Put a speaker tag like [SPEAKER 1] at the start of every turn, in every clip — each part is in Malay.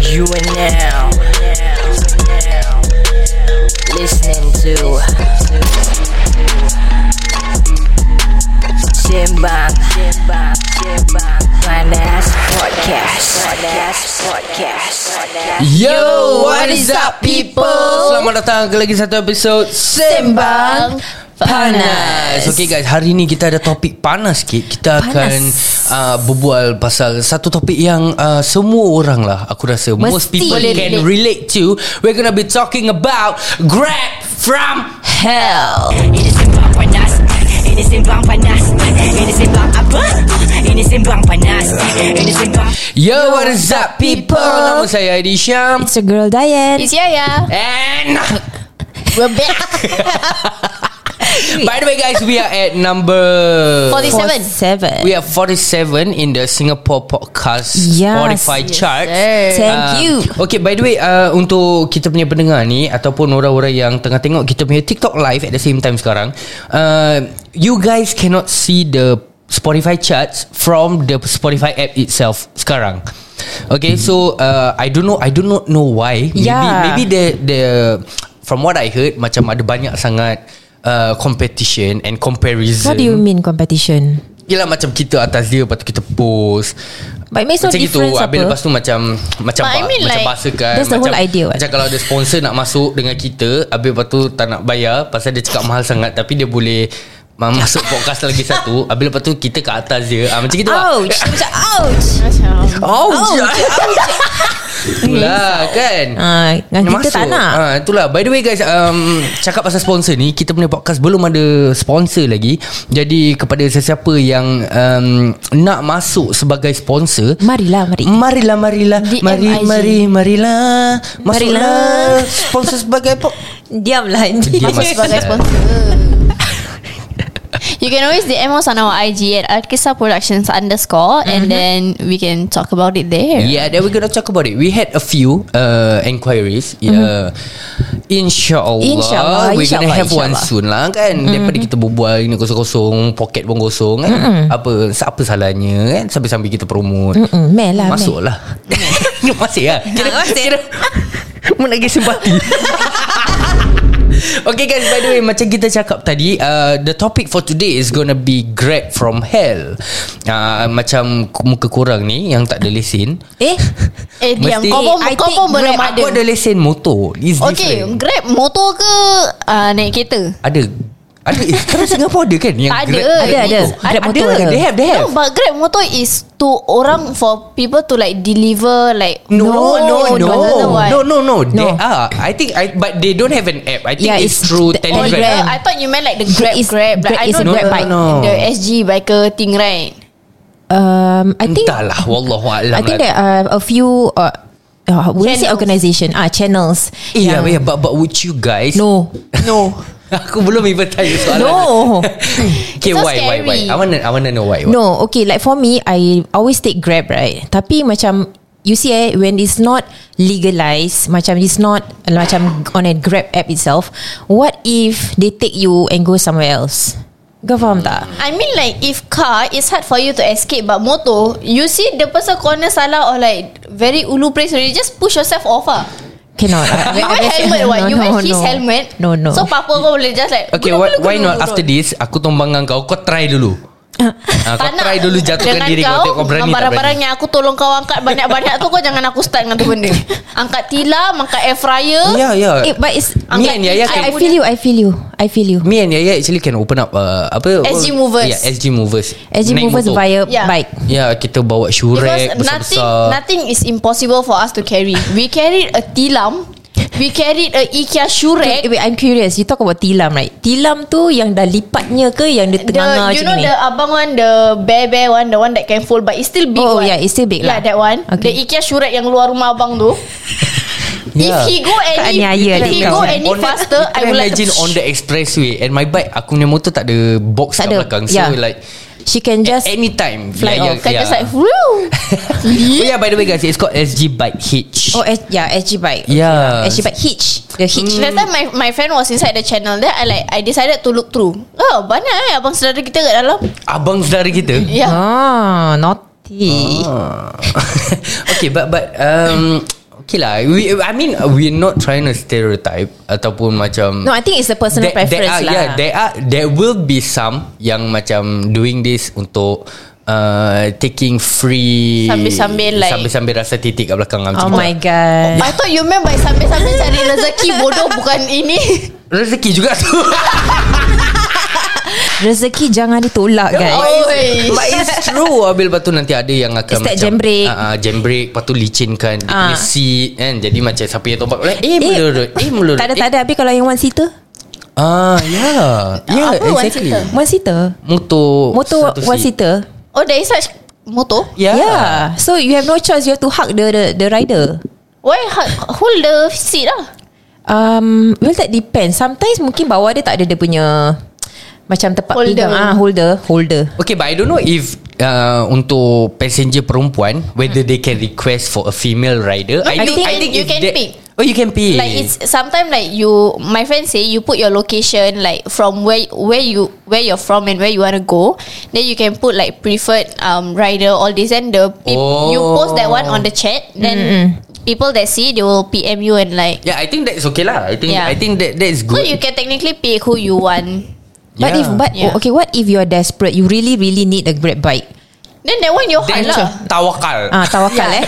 [SPEAKER 1] You are now listening to Simbang Finance Podcast. Podcast. Podcast.
[SPEAKER 2] Yo, what is up people? Selamat datang ke lagi satu episod Sembang Panas Okay guys, hari ni kita ada topik panas sikit Kita panas. akan uh, berbual pasal satu topik yang uh, semua orang lah Aku rasa Mesti most
[SPEAKER 3] Mesti
[SPEAKER 2] people
[SPEAKER 3] boleh
[SPEAKER 2] can relate to We're gonna be talking about Grab from
[SPEAKER 3] Hell
[SPEAKER 1] Ini sembang panas. Ini sembang panas. Ini sembang apa? Ini sembang panas. Ini sembang
[SPEAKER 2] Yo, what is up people? Nama saya Aidy Syam
[SPEAKER 4] It's your girl Diane
[SPEAKER 3] It's Yaya
[SPEAKER 2] And
[SPEAKER 3] We're back
[SPEAKER 2] by the way guys, we are at number
[SPEAKER 3] 47. Seven.
[SPEAKER 4] Seven
[SPEAKER 2] We are 47 in the Singapore podcast
[SPEAKER 4] Yes.
[SPEAKER 2] Spotify
[SPEAKER 4] Yes,
[SPEAKER 2] chart. Ah.
[SPEAKER 3] sir.
[SPEAKER 4] Thank you.
[SPEAKER 2] Okay, by the way, uh, untuk kita punya pendengar ni ataupun orang-orang yang tengah tengok kita punya TikTok live at the same time sekarang, uh, you guys cannot see the Spotify charts from the Spotify app itself sekarang. Okay, so uh, I don't know, I do not know why. Maybe,
[SPEAKER 4] Hmm. Yeah.
[SPEAKER 2] maybe the the from what I heard macam ada banyak sangat uh, competition and comparison.
[SPEAKER 4] What do you mean competition?
[SPEAKER 2] Yelah macam kita atas dia Lepas tu kita post
[SPEAKER 4] But it makes no
[SPEAKER 2] Macam gitu
[SPEAKER 4] difference
[SPEAKER 2] Habis
[SPEAKER 4] apa
[SPEAKER 2] lepas tu macam Macam
[SPEAKER 3] But I
[SPEAKER 2] ba-
[SPEAKER 3] mean
[SPEAKER 2] macam
[SPEAKER 3] like,
[SPEAKER 2] bahasakan
[SPEAKER 4] that's the
[SPEAKER 2] macam,
[SPEAKER 4] whole idea what?
[SPEAKER 2] Macam kalau ada sponsor nak masuk Dengan kita Habis lepas tu tak nak bayar Pasal dia cakap mahal sangat Tapi dia boleh ma- Masuk podcast lagi satu Habis lepas tu kita ke atas dia ah, Macam gitu lah
[SPEAKER 4] Ouch Dia Macam ouch
[SPEAKER 2] Oh, Itulah kan
[SPEAKER 4] Ah, Dengan kita tak nak
[SPEAKER 2] ha, Itulah By the way guys um, Cakap pasal sponsor ni Kita punya podcast Belum ada sponsor lagi Jadi kepada sesiapa yang um, Nak masuk sebagai sponsor
[SPEAKER 4] Marilah mari
[SPEAKER 2] Marilah marilah
[SPEAKER 3] DM
[SPEAKER 2] Mari
[SPEAKER 3] IG.
[SPEAKER 2] mari marilah Masuklah
[SPEAKER 4] Marilah.
[SPEAKER 2] Sponsor sebagai pok
[SPEAKER 4] Diamlah Andy
[SPEAKER 2] Diam, Mas.
[SPEAKER 3] Sebagai sponsor You can always DM us on our IG At Alkisah Productions underscore
[SPEAKER 2] Mhm.
[SPEAKER 3] And then we can talk about it there
[SPEAKER 2] Yeah then we're gonna talk about it We had a few uh, Enquiries yeah. InsyaAllah
[SPEAKER 4] Insyaallah,
[SPEAKER 2] We're gonna
[SPEAKER 4] insyaallah,
[SPEAKER 2] have one
[SPEAKER 4] insyaallah.
[SPEAKER 2] soon lah kan mm-hmm. Daripada kita berbual Ini kosong-kosong Pocket pun kosong kan Apa Apa salahnya kan Sambil-sambil kita promote
[SPEAKER 4] Mm, Mel lah Mel.
[SPEAKER 2] Masuk lah Masih lah Kira, kira Menagih simpati Okay guys by the way Macam kita cakap tadi uh, The topic for today Is gonna be Grab from hell uh, Macam ku- Muka korang ni Yang tak ada lesen
[SPEAKER 4] Eh
[SPEAKER 3] Eh diam
[SPEAKER 2] Mesti-
[SPEAKER 3] Kau pun,
[SPEAKER 4] I
[SPEAKER 3] kau
[SPEAKER 4] think
[SPEAKER 3] pun belum
[SPEAKER 2] Grab
[SPEAKER 3] Oh, ada
[SPEAKER 2] aku ada lesen motor It's
[SPEAKER 3] Okay
[SPEAKER 2] different
[SPEAKER 3] Grab motor ke uh, Naik kereta
[SPEAKER 2] Ada ada eh, sekarang Singapore ada kan yang
[SPEAKER 3] Tak
[SPEAKER 2] Grab-
[SPEAKER 3] ada.
[SPEAKER 2] Grab motor?
[SPEAKER 4] Ada, ada. Grab motor
[SPEAKER 2] ada.
[SPEAKER 4] ada.
[SPEAKER 2] They have they have
[SPEAKER 3] No but Grab motor is To orang for people to like Deliver like
[SPEAKER 2] No, no, no,
[SPEAKER 3] no,
[SPEAKER 2] no,
[SPEAKER 3] another one.
[SPEAKER 2] no, no, no. They are. I think, I but they don't have an app. I think
[SPEAKER 4] Yeah,
[SPEAKER 2] it's,
[SPEAKER 4] it's
[SPEAKER 2] through
[SPEAKER 4] the-
[SPEAKER 3] Oh,
[SPEAKER 4] Telegram.
[SPEAKER 3] Grab.
[SPEAKER 2] Telegram.
[SPEAKER 3] I thought you meant like the Grab
[SPEAKER 4] It's
[SPEAKER 3] Grab.
[SPEAKER 4] Grab-
[SPEAKER 3] Like, I
[SPEAKER 4] it's
[SPEAKER 3] know
[SPEAKER 4] a Grab
[SPEAKER 3] the,
[SPEAKER 4] bike.
[SPEAKER 2] No, no, no.
[SPEAKER 3] the SG biker thing, right?
[SPEAKER 4] um, I think
[SPEAKER 2] Entahlah, wallahu a'lam.
[SPEAKER 4] I think
[SPEAKER 2] lah.
[SPEAKER 4] there are a few uh, uh, Would you say
[SPEAKER 3] Channels.
[SPEAKER 4] organisation Ah channels
[SPEAKER 2] Yeah,
[SPEAKER 4] yang-
[SPEAKER 2] yeah, Eh, ya, but but would you guys?
[SPEAKER 4] No
[SPEAKER 2] no. Aku belum even tanya soalan.
[SPEAKER 4] No
[SPEAKER 2] Okay,
[SPEAKER 3] It's so
[SPEAKER 2] why, why, why?
[SPEAKER 3] scary.
[SPEAKER 2] I wanna, I wanna know why. why.
[SPEAKER 4] No, okay. Like for me, I always take Grab, right? Tapi macam you see, eh, when it's not legalized, macam it's not macam on a Grab app itself. What if they take you and go somewhere else? Kau faham tak?
[SPEAKER 3] I mean like if car, it's hard for you to escape. But motor, you see the person corner salah or like very ulu place already, just push yourself off ah.
[SPEAKER 4] Cannot.
[SPEAKER 3] You wear helmet what? you wear his helmet.
[SPEAKER 4] No, no.
[SPEAKER 3] So papa kau boleh just like
[SPEAKER 2] Okay, why, why not after this aku tumbang dengan kau, kau try dulu. Ah, kau try dulu jatuhkan
[SPEAKER 3] Dengan
[SPEAKER 2] diri kau, tengok kau berani
[SPEAKER 3] dengan
[SPEAKER 2] tak
[SPEAKER 3] Barang-barang
[SPEAKER 2] berani.
[SPEAKER 3] yang aku tolong kau angkat Banyak-banyak tu kau jangan aku start dengan tu benda Angkat tilam Angkat air fryer
[SPEAKER 2] Yeah, yeah.
[SPEAKER 4] Eh, but it's.
[SPEAKER 2] Ya. Me and Yaya
[SPEAKER 4] I, I
[SPEAKER 2] can,
[SPEAKER 4] feel you. I feel you. I feel you.
[SPEAKER 2] me and Yaya actually can open up uh, apa?
[SPEAKER 3] SG Movers.
[SPEAKER 2] Yeah, SG movers.
[SPEAKER 4] As you
[SPEAKER 2] Naik
[SPEAKER 4] move us
[SPEAKER 2] motor.
[SPEAKER 4] via
[SPEAKER 3] Yeah.
[SPEAKER 4] bike.
[SPEAKER 2] Ya, yeah, kita bawa
[SPEAKER 3] Because
[SPEAKER 2] syurek
[SPEAKER 3] nothing
[SPEAKER 2] besar-besar.
[SPEAKER 3] nothing is impossible for us to carry. We carried a tilam, we carried a IKEA
[SPEAKER 4] Wait,
[SPEAKER 3] shurek.
[SPEAKER 4] wait, I'm curious. You talk about tilam, right? Tilam tu yang dah lipatnya ke yang dia
[SPEAKER 3] The,
[SPEAKER 4] tengah-tengah
[SPEAKER 3] you
[SPEAKER 4] macam
[SPEAKER 3] know
[SPEAKER 4] ni?
[SPEAKER 3] the abang one The bear bear one The one that can fold But it's still big
[SPEAKER 4] Oh,
[SPEAKER 3] one.
[SPEAKER 4] yeah, it's still big lah.
[SPEAKER 3] Yeah that one okay. The
[SPEAKER 4] Okay.
[SPEAKER 3] IKEA shurek Yang luar rumah abang tu If
[SPEAKER 2] Yeah.
[SPEAKER 3] he go
[SPEAKER 4] Tak
[SPEAKER 3] any
[SPEAKER 4] ni ayah
[SPEAKER 3] If
[SPEAKER 4] adik
[SPEAKER 3] he
[SPEAKER 4] kau.
[SPEAKER 3] go any
[SPEAKER 2] Ya. Kan, On the-
[SPEAKER 3] faster
[SPEAKER 2] you
[SPEAKER 3] I
[SPEAKER 2] can
[SPEAKER 3] would like
[SPEAKER 2] imagine
[SPEAKER 3] to
[SPEAKER 2] on the expressway and my bike aku punya motor tak ada box kat
[SPEAKER 4] Tak ada.
[SPEAKER 2] belakang so
[SPEAKER 4] Yeah.
[SPEAKER 2] like
[SPEAKER 4] She can
[SPEAKER 2] just
[SPEAKER 4] just
[SPEAKER 2] anytime
[SPEAKER 3] Ya.
[SPEAKER 2] Ya,
[SPEAKER 3] Fly
[SPEAKER 2] yeah,
[SPEAKER 3] off Kan
[SPEAKER 2] yeah,
[SPEAKER 3] just like
[SPEAKER 2] yeah.
[SPEAKER 3] Woo
[SPEAKER 2] oh yeah by the way guys it's called SG bike hitch
[SPEAKER 4] Oh, S- yeah, SG bike. Okay
[SPEAKER 2] Yeah.
[SPEAKER 4] lah. SG bike hitch. The hitch.
[SPEAKER 3] That time my, my friend was inside the channel Then I like I decided to look through Oh banyak eh Abang saudara kita kat dalam Ya.
[SPEAKER 2] abang saudara kita
[SPEAKER 3] Yeah
[SPEAKER 4] Oh, Ah, naughty.
[SPEAKER 2] Ah. okay but but um Okay lah we, I mean We're not trying to stereotype Ataupun macam
[SPEAKER 4] No, I think it's a personal
[SPEAKER 2] there, there
[SPEAKER 4] preference
[SPEAKER 2] are,
[SPEAKER 4] lah.
[SPEAKER 2] ah, Yeah, there are there will be some yang macam doing this untuk uh, taking free
[SPEAKER 3] Sambil-sambil like-
[SPEAKER 2] sambil-sambil rasa titik kat belakang
[SPEAKER 4] oh my god.
[SPEAKER 3] I thought you meant by sambil-sambil cari rezeki bodoh bukan ini.
[SPEAKER 2] Rezeki juga tu.
[SPEAKER 4] Rezeki jangan ditolak
[SPEAKER 3] Oh,
[SPEAKER 4] guys.
[SPEAKER 3] Oi.
[SPEAKER 2] But it's true Abil lepas tu nanti ada yang akan
[SPEAKER 4] It's that
[SPEAKER 2] macam
[SPEAKER 4] jam break.
[SPEAKER 2] uh, Jam break Lepas tu licinkan Dia
[SPEAKER 4] Ah.
[SPEAKER 2] punya seat kan Jadi macam siapa yang tombak like, Eh melurut Eh melurut
[SPEAKER 4] Tak ada tak ada Habis kalau yang one seater
[SPEAKER 2] eh. Ah yeah Yeah
[SPEAKER 3] Apa one
[SPEAKER 2] exactly
[SPEAKER 3] seater?
[SPEAKER 4] One seater
[SPEAKER 2] Motor
[SPEAKER 4] Motor
[SPEAKER 2] Oh, satu Ya.
[SPEAKER 4] one Ya. seater
[SPEAKER 3] Oh, there is such motor.
[SPEAKER 2] Yeah,
[SPEAKER 4] yeah So you have no choice You have to hug the the, the rider
[SPEAKER 3] Why ha- hold the seat lah?
[SPEAKER 4] Um, well that depends. Sometimes mungkin bawah dia tak ada dia punya macam tempat
[SPEAKER 3] Holder.
[SPEAKER 4] pegang ah holder holder.
[SPEAKER 2] Okay but I don't know if uh, Untuk passenger perempuan Whether they can request For a female rider
[SPEAKER 3] you
[SPEAKER 2] I
[SPEAKER 3] can-
[SPEAKER 2] if
[SPEAKER 3] you can
[SPEAKER 2] that-
[SPEAKER 3] pick.
[SPEAKER 2] Oh you can pick
[SPEAKER 3] Like it's sometimes like you, my friend say you put your location like from where where you where you're from and where you wanna go. Then you can put like preferred um rider all this and the peop-
[SPEAKER 2] Oh.
[SPEAKER 3] you post that one on the chat. Then people that see they will PM you and like
[SPEAKER 2] Yeah I think that's okay lah I think
[SPEAKER 3] Yeah.
[SPEAKER 2] I think that that is
[SPEAKER 3] so
[SPEAKER 2] good
[SPEAKER 3] you can technically pick who you want.
[SPEAKER 4] But
[SPEAKER 2] Yeah.
[SPEAKER 4] if but
[SPEAKER 3] Yeah.
[SPEAKER 4] okay, what if you're desperate? You really really need a grab bike.
[SPEAKER 3] Then that one your heart
[SPEAKER 2] Then
[SPEAKER 3] lah.
[SPEAKER 2] tawakal
[SPEAKER 4] Ah tawakal
[SPEAKER 3] Yeah.
[SPEAKER 4] eh.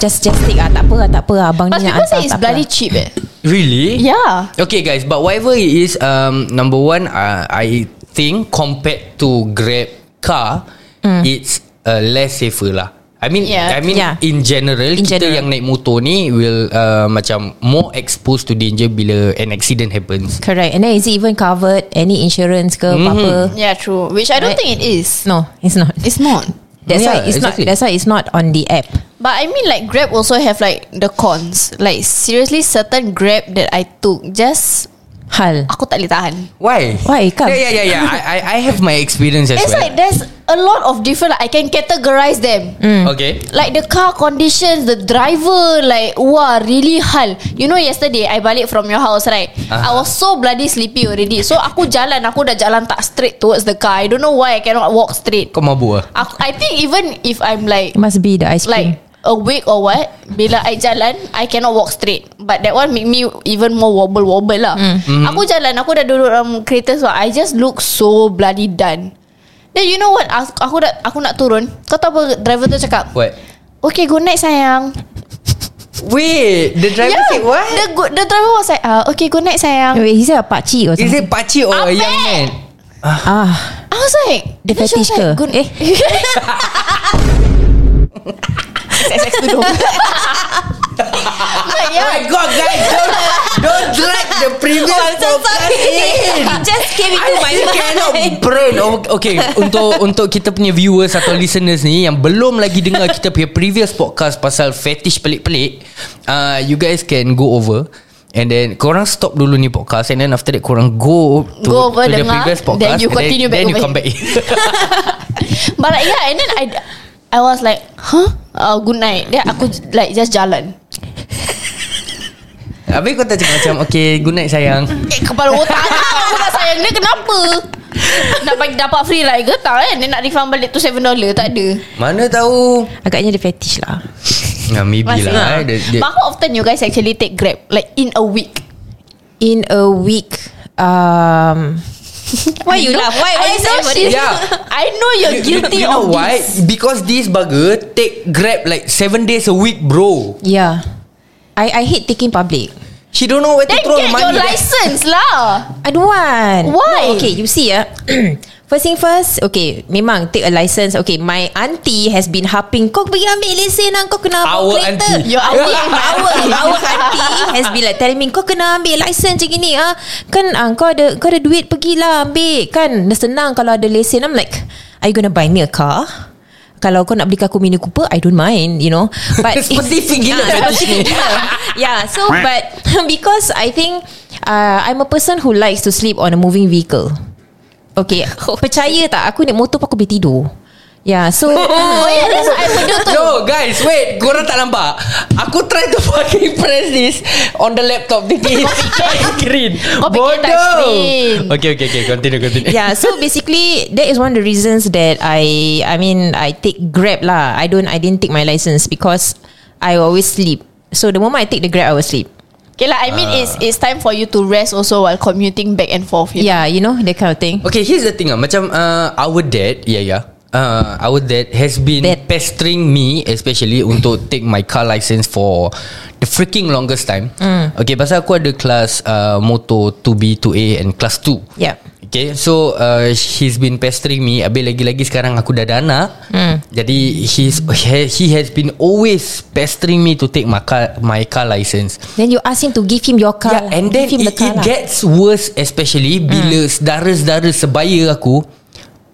[SPEAKER 4] Just just take ah tak apa ah, tak apa abang
[SPEAKER 3] But
[SPEAKER 4] ni nak hantar
[SPEAKER 3] people say it's
[SPEAKER 4] tak apa. lah.
[SPEAKER 3] bloody cheap. Eh.
[SPEAKER 2] Really
[SPEAKER 3] Yeah.
[SPEAKER 2] Okay guys, but whatever it is, um, number one, uh, I think compared to Grab car, it's uh, less safer lah. I mean,
[SPEAKER 3] Yeah.
[SPEAKER 2] I mean
[SPEAKER 4] Hmm. Yeah.
[SPEAKER 2] in general,
[SPEAKER 4] In
[SPEAKER 2] kita
[SPEAKER 4] general.
[SPEAKER 2] yang naik motor ni will uh, macam more exposed to danger bila an accident happens.
[SPEAKER 4] Correct. And then is it even covered any insurance ke apa?
[SPEAKER 3] Yeah, true. Which I don't
[SPEAKER 4] Right.
[SPEAKER 3] think it is.
[SPEAKER 4] No, it's not.
[SPEAKER 3] It's not.
[SPEAKER 4] That's
[SPEAKER 2] Yeah,
[SPEAKER 4] why it's
[SPEAKER 2] exactly.
[SPEAKER 4] not that's why it's not on the app.
[SPEAKER 3] But I mean like Grab also have like the cons. Like seriously certain Grab that I took just
[SPEAKER 4] Hal.
[SPEAKER 3] aku tak boleh tahan.
[SPEAKER 2] Why?
[SPEAKER 4] Why? Come.
[SPEAKER 2] Yeah, yeah, yeah. yeah. I, I, I have my experience as
[SPEAKER 3] It's
[SPEAKER 2] well.
[SPEAKER 3] like there's a lot of different like, I can categorize them.
[SPEAKER 2] Mm.
[SPEAKER 4] hmm.
[SPEAKER 2] Okay.
[SPEAKER 3] Like the car conditions, the driver, like wah really hal. You know yesterday I balik from your house right. I was so bloody sleepy already. So aku jalan, aku dah jalan tak straight towards the car. I don't know why I cannot walk straight.
[SPEAKER 2] Kau mabuk ah?
[SPEAKER 3] Aku, I think even if I'm like
[SPEAKER 4] It must be the ice cream.
[SPEAKER 3] like awake or what bila I jalan I cannot walk straight but that one make me even more wobble wobble lah aku jalan aku dah duduk dalam kereta so I just look so bloody done then you know what aku, aku dah aku nak turun kau tahu apa driver tu cakap
[SPEAKER 2] What?
[SPEAKER 3] okay good night sayang
[SPEAKER 2] Wait, the driver said what?
[SPEAKER 3] the, good, the driver was like uh, okay good night sayang
[SPEAKER 4] Wait, he said a pakcik or
[SPEAKER 2] Is it
[SPEAKER 4] something.
[SPEAKER 2] pakcik or a
[SPEAKER 3] Apek!
[SPEAKER 2] young man?
[SPEAKER 4] Ah,
[SPEAKER 3] I was like
[SPEAKER 4] the
[SPEAKER 3] then she was
[SPEAKER 4] fetish ke?
[SPEAKER 3] like, good,
[SPEAKER 4] Eh,
[SPEAKER 3] like, yeah.
[SPEAKER 2] Oh my god, guys, don't, don't drag the previous
[SPEAKER 3] Oh,
[SPEAKER 2] podcast in.
[SPEAKER 4] just came
[SPEAKER 2] I still cannot brain O- Oh, Okay Untuk untuk kita punya viewers Atau listeners ni Yang belum lagi dengar Kita punya previous podcast Pasal fetish pelik-pelik uh, You guys can go over And then Korang stop dulu ni podcast And then after that Korang go To,
[SPEAKER 3] Go over,
[SPEAKER 2] to the
[SPEAKER 3] dengar,
[SPEAKER 2] previous
[SPEAKER 3] then
[SPEAKER 2] podcast
[SPEAKER 3] you continue
[SPEAKER 2] and then, then
[SPEAKER 3] back
[SPEAKER 2] you
[SPEAKER 3] over
[SPEAKER 2] come back in
[SPEAKER 3] But like, yeah, and then I, I was like, huh? Uh, good night. Then aku like just jalan.
[SPEAKER 2] Habis kau tak cakap macam Okay good night sayang
[SPEAKER 3] Eh, kepala otak tak aku nak sayang dia kenapa? nak bagi dapat free lah ke tak kan? Dia nak refund balik tu $7 tak ada.
[SPEAKER 2] Mana tahu
[SPEAKER 4] Agaknya dia fetish lah
[SPEAKER 2] nah, Maybe
[SPEAKER 3] Masih
[SPEAKER 2] lah eh.
[SPEAKER 3] lah.
[SPEAKER 2] Dia, dia,
[SPEAKER 3] But how often you guys actually take Grab? Like in a week?
[SPEAKER 4] In a week um,
[SPEAKER 3] Why you laugh? Why?
[SPEAKER 4] why
[SPEAKER 3] I know,
[SPEAKER 4] everybody-
[SPEAKER 3] she's,
[SPEAKER 2] Yeah.
[SPEAKER 3] I know you're
[SPEAKER 2] you,
[SPEAKER 3] guilty
[SPEAKER 2] you know
[SPEAKER 3] of
[SPEAKER 2] why?
[SPEAKER 3] this.
[SPEAKER 2] Because this bugger Take grab like 7 days a week bro
[SPEAKER 4] Yeah I I hate taking public
[SPEAKER 2] She don't know where to
[SPEAKER 3] Then
[SPEAKER 2] throw
[SPEAKER 3] get
[SPEAKER 2] money
[SPEAKER 3] your license lah.
[SPEAKER 4] I don't want
[SPEAKER 3] Why?
[SPEAKER 4] no, Okay you see ah. First thing first Okay Memang take a license Okay my auntie Has been harping Kau pergi ambil lesen lah Kau
[SPEAKER 2] Our
[SPEAKER 4] kena bawa kereta
[SPEAKER 2] auntie.
[SPEAKER 3] Your auntie.
[SPEAKER 4] Our, our auntie Has been like telling me Kau kena ambil license macam gini ah. Kan ah, kau ada Kau ada duit Pergilah ambil Kan dah senang Kalau ada lesen I'm like Are you gonna buy me a car? Kalau kau nak belikan aku Mini Cooper I don't mind You know But
[SPEAKER 2] Spesifik gila.
[SPEAKER 4] Ah, Spesifik gila Yeah so but Because I think uh, I'm a person who likes to sleep On a moving vehicle Okay Percaya tak Aku naik motor pun Aku boleh tidur Yeah so
[SPEAKER 3] Oh yeah, that's what I would do too.
[SPEAKER 2] Yo guys wait Korang tak nampak Aku try to fucking press this On the laptop Thinking
[SPEAKER 3] Oh,
[SPEAKER 2] it's touch screen
[SPEAKER 3] Kau fikir touch screen.
[SPEAKER 2] Okay okay okay Continue
[SPEAKER 3] Ya,
[SPEAKER 2] continue
[SPEAKER 4] yeah so basically that is one of the reasons that I I mean I take Grab lah I don't I didn't take my license because I always sleep So the moment I take the grab, I will sleep.
[SPEAKER 3] Okay lah, I mean
[SPEAKER 2] Ah.
[SPEAKER 3] it's it's time for you to rest also while commuting back and forth. You
[SPEAKER 4] Yeah, you know that kind of thing.
[SPEAKER 2] Okay, here's the thing. ah. Macam uh, our dad, yeah, yeah. Uh, our dad has been
[SPEAKER 4] Dad.
[SPEAKER 2] pestering me especially untuk take my car license for the freaking longest time. Okay, pasal aku ada kelas uh, motor 2B, 2A and kelas 2.
[SPEAKER 4] Yeah.
[SPEAKER 2] Okay, so uh, he's been pestering me. Habis lagi-lagi sekarang aku dah ada anak. Jadi he's, he, he has been always pestering me to take my car, my car license.
[SPEAKER 4] Then you ask him to give him your
[SPEAKER 2] Yeah,
[SPEAKER 4] car. lah.
[SPEAKER 2] and then
[SPEAKER 4] give him
[SPEAKER 2] it,
[SPEAKER 4] the car.
[SPEAKER 2] it
[SPEAKER 4] lah.
[SPEAKER 2] gets worse especially bila saudara-saudara sebaya aku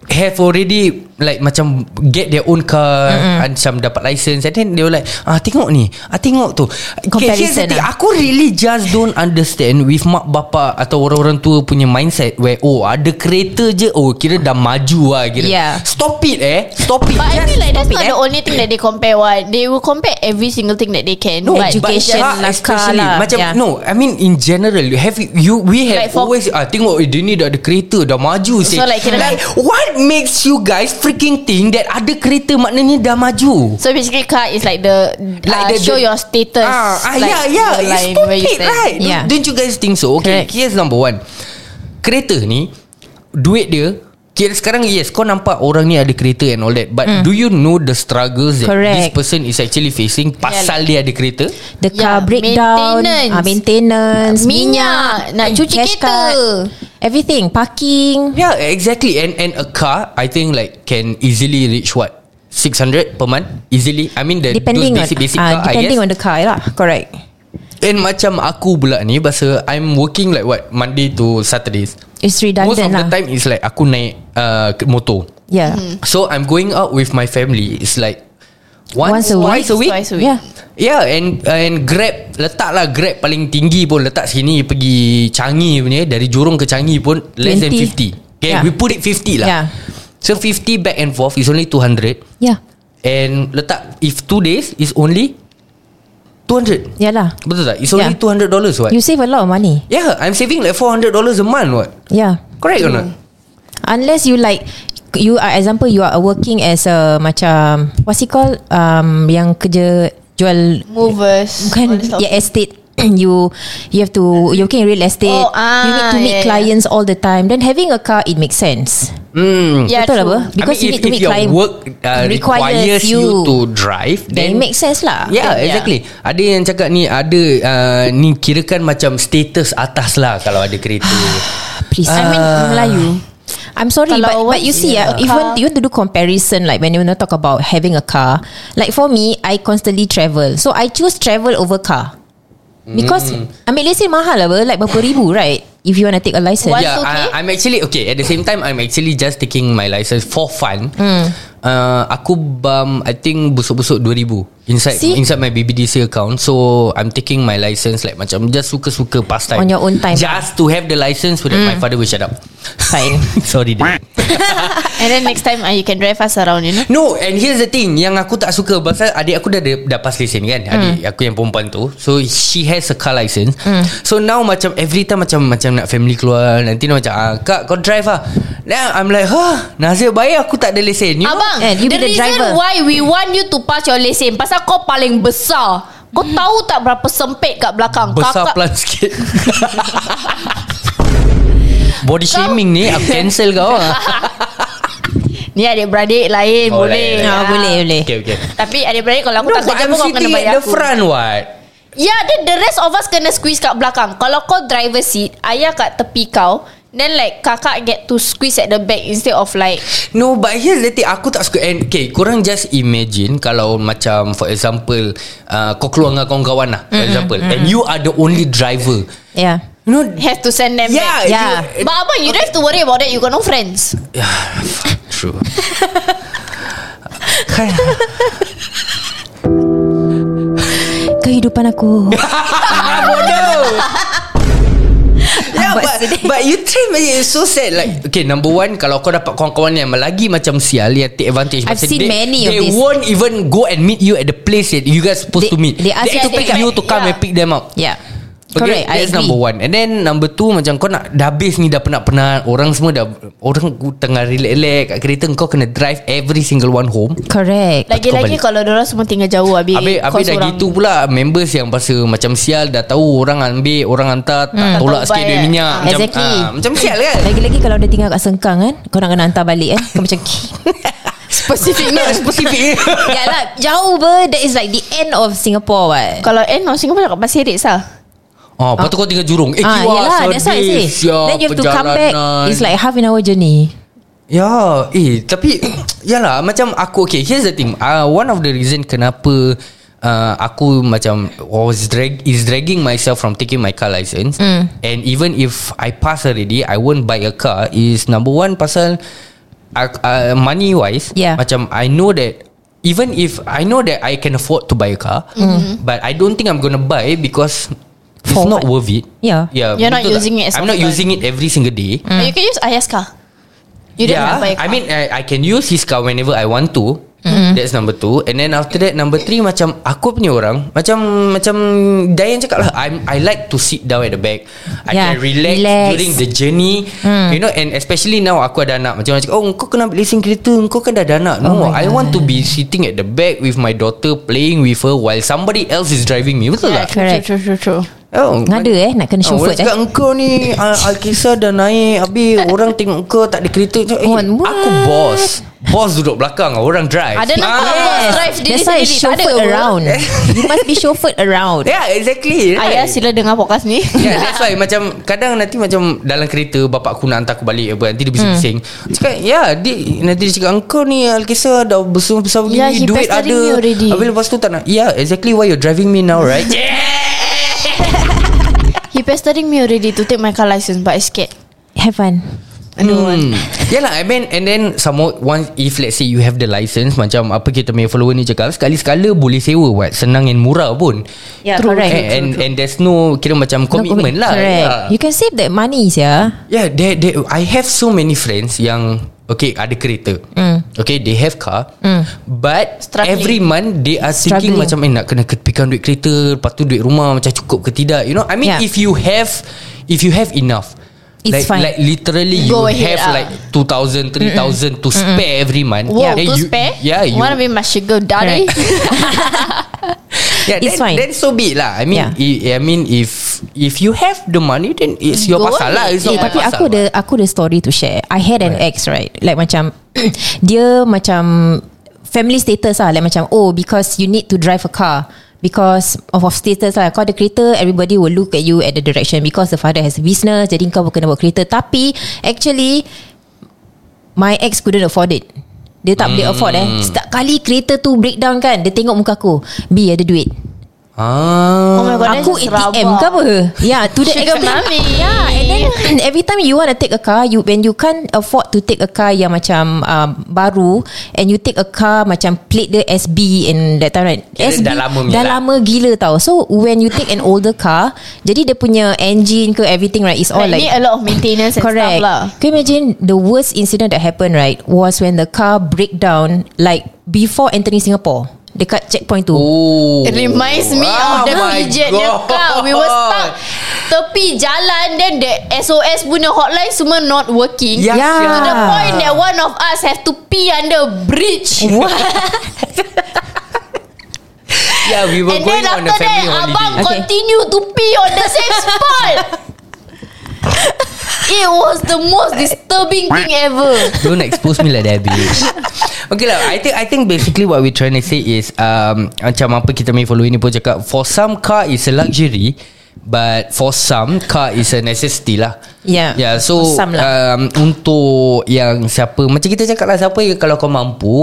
[SPEAKER 2] have already like macam get their own car mm-hmm. and some dapat license and then they were like ah tengok ni ah tengok tu Okay, here's the
[SPEAKER 4] Comparison
[SPEAKER 2] thing,
[SPEAKER 4] lah.
[SPEAKER 2] aku really just don't understand with mak bapa atau orang-orang tua punya mindset where oh ada kereta je oh kira dah maju lah kira
[SPEAKER 4] Yeah.
[SPEAKER 2] stop it eh stop it
[SPEAKER 3] But I
[SPEAKER 2] Just
[SPEAKER 3] feel like that's
[SPEAKER 2] stop it,
[SPEAKER 3] not
[SPEAKER 2] eh.
[SPEAKER 3] the only thing that they compare. What they will compare every single thing that they can.
[SPEAKER 2] No,
[SPEAKER 3] but
[SPEAKER 2] but
[SPEAKER 4] education
[SPEAKER 2] car
[SPEAKER 4] lah,
[SPEAKER 2] especially.
[SPEAKER 4] car lah.
[SPEAKER 2] Macam
[SPEAKER 4] Yeah.
[SPEAKER 2] no, I mean in general, you have you we have
[SPEAKER 3] Like for-
[SPEAKER 2] always ah tengok eh, dia ni dah ada kereta, dah maju sih.
[SPEAKER 3] like, kira-
[SPEAKER 2] what makes you guys freaking think that ada kereta maknanya dah maju?
[SPEAKER 3] So basically, car is like the like uh,
[SPEAKER 2] the-
[SPEAKER 3] show
[SPEAKER 2] the-
[SPEAKER 3] your status.
[SPEAKER 2] Ah, ah
[SPEAKER 3] like,
[SPEAKER 2] yeah, yeah,
[SPEAKER 3] your
[SPEAKER 2] it's
[SPEAKER 3] line where you
[SPEAKER 2] stupid,
[SPEAKER 3] stand.
[SPEAKER 2] right?
[SPEAKER 4] Yeah.
[SPEAKER 2] Don't, don't you guys think so? Okay,
[SPEAKER 4] Correct.
[SPEAKER 2] here's number one. Kereta ni duit dia Kira sekarang yes Kau nampak orang ni ada kereta And all that
[SPEAKER 3] Hmm.
[SPEAKER 2] But mm. do you know The struggles That this
[SPEAKER 4] Correct.
[SPEAKER 2] person Is actually facing Pasal dia ada kereta
[SPEAKER 4] The car
[SPEAKER 3] Yeah,
[SPEAKER 4] breakdown
[SPEAKER 3] maintenance.
[SPEAKER 4] ah, maintenance
[SPEAKER 3] Minyak, nak cuci
[SPEAKER 4] cash
[SPEAKER 3] kereta.
[SPEAKER 4] card, Everything Parking
[SPEAKER 2] Yeah, exactly. And and a car, I think like can easily reach what six hundred per month easily. I mean the
[SPEAKER 4] Depending
[SPEAKER 2] those basic
[SPEAKER 4] on
[SPEAKER 2] basic
[SPEAKER 4] ah,
[SPEAKER 2] car,
[SPEAKER 4] Depending
[SPEAKER 2] I
[SPEAKER 4] on
[SPEAKER 2] guess.
[SPEAKER 4] the car lah Correct
[SPEAKER 2] And macam aku pula ni, bahasa I'm working like what Monday to Saturdays.
[SPEAKER 4] It's
[SPEAKER 2] Most of
[SPEAKER 4] redundant
[SPEAKER 2] the
[SPEAKER 4] lah
[SPEAKER 2] time is like aku naik uh, ke- motor.
[SPEAKER 4] Yeah
[SPEAKER 2] So I'm going out with my family. It's like once,
[SPEAKER 4] Once a
[SPEAKER 2] twice a week.
[SPEAKER 3] Twice a week.
[SPEAKER 4] Yeah
[SPEAKER 2] Yeah and uh, and grab letaklah grab paling tinggi pun letak sini pergi Changi punya dari Jurong ke Changi pun less than 50.
[SPEAKER 4] 20.
[SPEAKER 2] Okay,
[SPEAKER 4] Yeah.
[SPEAKER 2] we put it 50 lah.
[SPEAKER 4] Yeah.
[SPEAKER 2] So 50 back and forth is only 200
[SPEAKER 4] Yeah
[SPEAKER 2] and letak if 2 days is only 200.
[SPEAKER 4] Yalah
[SPEAKER 2] Betul tak? It's only
[SPEAKER 4] Yeah.
[SPEAKER 2] $200 what?
[SPEAKER 4] You save a lot of money
[SPEAKER 2] yeah, I'm saving like $400 a month what?
[SPEAKER 4] Yeah
[SPEAKER 2] Correct or not?
[SPEAKER 4] Unless you like You are example You are working as a Macam What's it called um, Yang kerja Jual
[SPEAKER 3] Movers. all
[SPEAKER 4] Bukan
[SPEAKER 3] this stuff.
[SPEAKER 4] yeah, estate you you have to you working in real estate
[SPEAKER 3] Oh, ah,
[SPEAKER 4] you need to meet
[SPEAKER 3] yeah, yeah.
[SPEAKER 4] clients all the time then having a car it makes sense
[SPEAKER 2] Mm.
[SPEAKER 3] Yeah,
[SPEAKER 4] betul lah
[SPEAKER 3] true.
[SPEAKER 4] apa because
[SPEAKER 2] I mean,
[SPEAKER 4] you
[SPEAKER 2] if,
[SPEAKER 4] need to
[SPEAKER 2] if
[SPEAKER 4] meet
[SPEAKER 2] your
[SPEAKER 4] client
[SPEAKER 2] work uh, requires, you, to drive,
[SPEAKER 4] then it makes sense lah
[SPEAKER 2] Yeah,
[SPEAKER 3] Yeah.
[SPEAKER 2] exactly. Ada yang cakap ni ada uh, ni kirakan macam status atas lah kalau ada kereta.
[SPEAKER 4] please
[SPEAKER 2] I mean, Ah. Melayu.
[SPEAKER 4] I'm sorry
[SPEAKER 3] Kalau
[SPEAKER 4] but, but
[SPEAKER 3] once
[SPEAKER 4] you see
[SPEAKER 3] you
[SPEAKER 4] yeah,
[SPEAKER 3] have a
[SPEAKER 4] if
[SPEAKER 3] car-
[SPEAKER 4] you want, you want to do comparison like when you want to talk about having a car like for me I constantly travel so I choose travel over car because
[SPEAKER 2] Mm.
[SPEAKER 4] I mean let's say mahal lah apa, like berapa ribu right if you want to take a license
[SPEAKER 3] One- That's
[SPEAKER 2] yeah,
[SPEAKER 3] okay.
[SPEAKER 2] I, I'm actually okay. At the same time, I'm actually just taking my license for fun.
[SPEAKER 4] Hmm.
[SPEAKER 2] Mm. Uh, aku bam, I think busuk-busuk 2000 inside
[SPEAKER 4] See?
[SPEAKER 2] inside my BBDC account. So I'm taking my license like macam just suka-suka pastime
[SPEAKER 4] On your own time. Hmm.
[SPEAKER 2] Just to have the license so that my father will shut up.
[SPEAKER 4] Fine.
[SPEAKER 2] Sorry. Dad.
[SPEAKER 3] And then next time uh, you can drive us around, you know.
[SPEAKER 2] No and here's the thing Yang aku tak suka Pasal adik aku dah ada- Dah pass lesen
[SPEAKER 3] Hmm.
[SPEAKER 2] kan Adik aku yang perempuan tu So she has a car license
[SPEAKER 3] Hmm.
[SPEAKER 2] So now macam Every time macam Macam nak family keluar Nanti dia macam ah, Kak kau drive lah Then I'm like huh, Nasib baik aku tak ada lesen you know?
[SPEAKER 3] Abang,
[SPEAKER 4] Eh, you
[SPEAKER 3] the,
[SPEAKER 4] be the
[SPEAKER 3] reason
[SPEAKER 4] driver.
[SPEAKER 3] why we want you to pass your lesen pasal kau paling besar. Kau tahu tak berapa sempit kat belakang?
[SPEAKER 2] Hmm. Besar
[SPEAKER 3] Kakak-
[SPEAKER 2] pelan sikit Body shaming ni Aku cancel kau lah
[SPEAKER 3] Ni adik-beradik lain
[SPEAKER 2] Oh,
[SPEAKER 3] Eh, boleh.
[SPEAKER 2] lain, lain.
[SPEAKER 4] Ah, boleh boleh
[SPEAKER 2] Okay okay
[SPEAKER 3] Tapi adik-beradik kalau aku
[SPEAKER 2] No
[SPEAKER 3] tak
[SPEAKER 2] but
[SPEAKER 3] kerja
[SPEAKER 2] I'm
[SPEAKER 3] pun kau kena
[SPEAKER 2] sitting
[SPEAKER 3] bayar
[SPEAKER 2] at the
[SPEAKER 3] aku.
[SPEAKER 2] front what
[SPEAKER 3] Yeah, then Ya, the rest of us kena squeeze kat belakang. Kalau kau driver seat, ayah kat tepi kau, then like kakak get to squeeze at the back instead of like
[SPEAKER 2] No but here's the thing Aku tak suka and, Okay korang just imagine Kalau macam For example uh, Kau keluar dengan kawan-kawan lah For example And you are the only driver
[SPEAKER 4] yeah
[SPEAKER 2] You know
[SPEAKER 3] have to send them
[SPEAKER 2] Yeah,
[SPEAKER 3] back.
[SPEAKER 4] Yeah.
[SPEAKER 2] you-
[SPEAKER 3] But abang, you don't have to worry about that. You got no friends.
[SPEAKER 2] True
[SPEAKER 4] kehidupan aku
[SPEAKER 2] Ah, Bodoh Yeah but, but you treat me It's so sad Like Okay number one Kalau kau dapat kawan-kawan Yang lagi macam sial Yang take advantage
[SPEAKER 4] I've
[SPEAKER 2] Macam
[SPEAKER 4] seen
[SPEAKER 2] they,
[SPEAKER 4] many of
[SPEAKER 2] They
[SPEAKER 4] this.
[SPEAKER 2] won't even Go and meet you At the place That you guys supposed
[SPEAKER 4] They-
[SPEAKER 2] to meet
[SPEAKER 4] they ask
[SPEAKER 2] they
[SPEAKER 4] you
[SPEAKER 2] have to
[SPEAKER 4] to
[SPEAKER 2] pick
[SPEAKER 4] come
[SPEAKER 2] you
[SPEAKER 4] back.
[SPEAKER 2] To come
[SPEAKER 3] Yeah.
[SPEAKER 2] and pick them up
[SPEAKER 4] yeah Correct, I
[SPEAKER 2] That's
[SPEAKER 4] agree.
[SPEAKER 2] number one And then number two Macam kau nak Dah habis ni Dah penat-penat Orang semua dah Orang tengah relax-relax Kat kereta Kau kena drive Every single one home
[SPEAKER 4] Correct
[SPEAKER 2] balik.
[SPEAKER 3] Lagi-lagi kalau orang semua tinggal jauh Habis,
[SPEAKER 2] Habis, habis
[SPEAKER 3] kau
[SPEAKER 2] dah
[SPEAKER 3] seorang.
[SPEAKER 2] gitu pula Members yang pasal Macam sial Dah tahu orang ambil Orang hantar
[SPEAKER 4] Hmm.
[SPEAKER 2] Tak tolak
[SPEAKER 3] Tak
[SPEAKER 2] sikit
[SPEAKER 3] tahu
[SPEAKER 2] duit
[SPEAKER 3] bayar.
[SPEAKER 2] minyak
[SPEAKER 4] Ah,
[SPEAKER 2] Macam,
[SPEAKER 4] exactly.
[SPEAKER 2] ah, Macam sial kan
[SPEAKER 4] Lagi-lagi kalau dia tinggal kat Sengkang kan Kau nak kena hantar balik kan Kau macam
[SPEAKER 2] Spesifiknya Spesifiknya
[SPEAKER 4] Ya lah Jauh ber That is like the end of Singapore what
[SPEAKER 3] Kalau end of Singapore Kat Pasir Ris lah
[SPEAKER 2] Oh, lepas tu kau tinggal jurung Eh, ya,
[SPEAKER 4] Ah,
[SPEAKER 2] kiwa
[SPEAKER 4] yelah, that's why I say Then you have to come back It's like half an hour journey
[SPEAKER 2] Ya Eh tapi Yalah macam aku Okay here's the thing uh, One of the reason kenapa uh, Aku macam Was drag Is dragging myself From taking my car license
[SPEAKER 4] Hmm.
[SPEAKER 2] mm. And even if I pass already I won't buy a car Is number one Pasal uh, uh, Money wise
[SPEAKER 4] Yeah.
[SPEAKER 2] Macam I know that Even if I know that I can afford to buy a car mm. But I don't think I'm gonna buy Because It's
[SPEAKER 4] Mm-hmm. For
[SPEAKER 2] not
[SPEAKER 4] what?
[SPEAKER 2] worth it
[SPEAKER 4] Yeah.
[SPEAKER 2] yeah
[SPEAKER 3] You're not
[SPEAKER 2] betul tak?
[SPEAKER 3] using it as
[SPEAKER 2] I'm not
[SPEAKER 3] often.
[SPEAKER 2] using it every single day
[SPEAKER 3] mm. You can use Ayah's car You don't have to buy a
[SPEAKER 2] Hmm. Ya,
[SPEAKER 3] car Mm-hmm.
[SPEAKER 2] I mean I, I can use his car whenever I want to. Mm. That's number two And then after that Number three Macam aku punya orang Macam Macam Diane cakap lah I'm, I like to sit down at the back I
[SPEAKER 4] Yeah,
[SPEAKER 2] can relax,
[SPEAKER 4] relax.
[SPEAKER 2] During the journey
[SPEAKER 3] Mm.
[SPEAKER 2] You know And especially now Aku ada anak Macam orang cakap Oh kau kena ambil lesen kereta Kau kan dah ada anak No
[SPEAKER 4] Oh my
[SPEAKER 2] I want to be sitting at the back With my daughter Playing with her While somebody else is driving me Betul lah. tak?
[SPEAKER 4] Correct.
[SPEAKER 3] True true true, true.
[SPEAKER 2] Oh,
[SPEAKER 4] Ngada eh, nak kena chauffeur,
[SPEAKER 2] Orang cakap engkau ni Al- Alkisah dah naik Habis orang tengok kau Tak ada kereta Macam, eh,
[SPEAKER 4] Oh, what?
[SPEAKER 2] Aku bos Bos duduk belakang Orang drive
[SPEAKER 3] Ada nak
[SPEAKER 2] Ah,
[SPEAKER 3] bos drive diri
[SPEAKER 4] That's why
[SPEAKER 3] sendiri Tak ada
[SPEAKER 4] chauffeur
[SPEAKER 3] apa.
[SPEAKER 4] around You must be chauffeured around
[SPEAKER 2] Yeah Ya, exactly right?
[SPEAKER 3] Ayah sila dengar podcast ni
[SPEAKER 2] Yeah, that's why macam kadang nanti macam dalam kereta bapak aku nak hantar aku balik apa nanti dia bising-bising. Hmm. Cakap, "Ya, dia nanti dia cakap engkau ni Alkisah dah besar-besar begini,
[SPEAKER 3] Yeah, Ya, he
[SPEAKER 2] duit
[SPEAKER 3] pestering
[SPEAKER 2] ada."
[SPEAKER 3] you already.
[SPEAKER 2] Habis lepas tu tak nak. Yeah, exactly why you're driving me now, right?
[SPEAKER 3] He pestering me already To take my car license But I scared
[SPEAKER 4] Have fun
[SPEAKER 2] Hmm. Yalah I mean And then Some more once, If let's say you have the license Macam apa kita punya follower ni cakap Sekali-sekala boleh sewa buat Senang and murah pun
[SPEAKER 4] Yeah,
[SPEAKER 3] True.
[SPEAKER 2] And,
[SPEAKER 4] correct.
[SPEAKER 2] and, and there's no Kira macam Eh, commitment
[SPEAKER 4] No,
[SPEAKER 2] lah
[SPEAKER 4] Correct
[SPEAKER 2] Yeah.
[SPEAKER 4] You can save that money yeah.
[SPEAKER 2] Yeah, they, they, I have so many friends yang okay ada kereta, mm. okay they have car, mm. but
[SPEAKER 3] Struggling.
[SPEAKER 2] every month they are thinking
[SPEAKER 4] Struggling.
[SPEAKER 2] macam eh nak kena ketepikan duit kereta, lepas tu duit rumah macam cukup ke tidak, you know? I mean yeah.
[SPEAKER 4] Yeah.
[SPEAKER 2] if you have if you have enough,
[SPEAKER 4] It's
[SPEAKER 2] like
[SPEAKER 4] fine.
[SPEAKER 2] like literally
[SPEAKER 3] Go
[SPEAKER 2] you
[SPEAKER 3] ahead
[SPEAKER 2] have
[SPEAKER 3] lah.
[SPEAKER 2] like two thousand, three thousand to spare every month.
[SPEAKER 3] Wow
[SPEAKER 2] Then
[SPEAKER 3] to
[SPEAKER 2] you,
[SPEAKER 3] spare
[SPEAKER 2] Yeah, you
[SPEAKER 3] Wanna be my sugar daddy
[SPEAKER 2] yeah,
[SPEAKER 4] It's
[SPEAKER 2] then,
[SPEAKER 4] fine.
[SPEAKER 2] Then so be it lah. I mean,
[SPEAKER 4] Yeah.
[SPEAKER 2] yeah. I, I mean if if you have the money, then it's your
[SPEAKER 3] Go
[SPEAKER 2] pasal lah. It's
[SPEAKER 4] Eh,
[SPEAKER 2] not my
[SPEAKER 4] tapi
[SPEAKER 2] pasal.
[SPEAKER 4] aku ada aku ada story to share. I had an ex right. Like macam dia macam family status lah. Like macam oh because you need to drive a car because of, of status lah. Kau ada kereta everybody will look at you at the direction because the father has a business jadi kau kena buat kereta. Tapi actually my ex couldn't afford it. Dia tak boleh afford eh. Setiap kali kereta tu breakdown kan dia tengok muka aku. B ada duit.
[SPEAKER 2] Ah.
[SPEAKER 3] Oh my god
[SPEAKER 4] Aku
[SPEAKER 3] that's
[SPEAKER 4] ATM
[SPEAKER 3] rabak.
[SPEAKER 4] ke apa Yeah to the
[SPEAKER 3] Sugar
[SPEAKER 4] extent
[SPEAKER 3] mommy.
[SPEAKER 4] Yeah and then Every time you want to take a car you When you can't afford to take a car Yang macam um, Baru And you take a car Macam plate dia SB And that time right
[SPEAKER 2] Kira
[SPEAKER 4] SB
[SPEAKER 2] dah lama punya
[SPEAKER 4] Dah
[SPEAKER 2] lah.
[SPEAKER 4] lama gila tau So when you take an older car Jadi dia punya engine ke Everything right Is
[SPEAKER 2] Oh,
[SPEAKER 4] all like
[SPEAKER 3] Like, need a lot of maintenance and
[SPEAKER 4] Correct.
[SPEAKER 3] stuff lah
[SPEAKER 4] Can you imagine the worst incident that happened right was when the car break down like before entering Singapore dekat checkpoint tu.
[SPEAKER 2] Oh.
[SPEAKER 3] It reminds me
[SPEAKER 2] Oh
[SPEAKER 3] of the
[SPEAKER 2] my
[SPEAKER 3] pijet punya
[SPEAKER 2] God.
[SPEAKER 3] car We were stuck Tepi jalan Then the SOS punya hotline Semua not working
[SPEAKER 2] Yeah. To
[SPEAKER 4] Yeah.
[SPEAKER 3] To the point that one of us Have to pee under a bridge
[SPEAKER 2] Yeah, we were
[SPEAKER 3] And
[SPEAKER 2] going on
[SPEAKER 3] then
[SPEAKER 2] a
[SPEAKER 3] after that
[SPEAKER 2] family
[SPEAKER 3] Abang
[SPEAKER 2] holiday.
[SPEAKER 4] Okay.
[SPEAKER 3] continue to pee on the same spot It was the most disturbing thing ever
[SPEAKER 2] Don't expose me like that, bitch. Okay lah, I think I think basically what we're trying to say is um, macam apa kita may follow ini pun cakap for some car is a luxury but for some car is a necessity lah.
[SPEAKER 4] Yeah.
[SPEAKER 2] Yeah, so
[SPEAKER 4] Ya, For some lah.
[SPEAKER 2] um, untuk yang siapa macam kita cakap lah siapa yang kalau kau mampu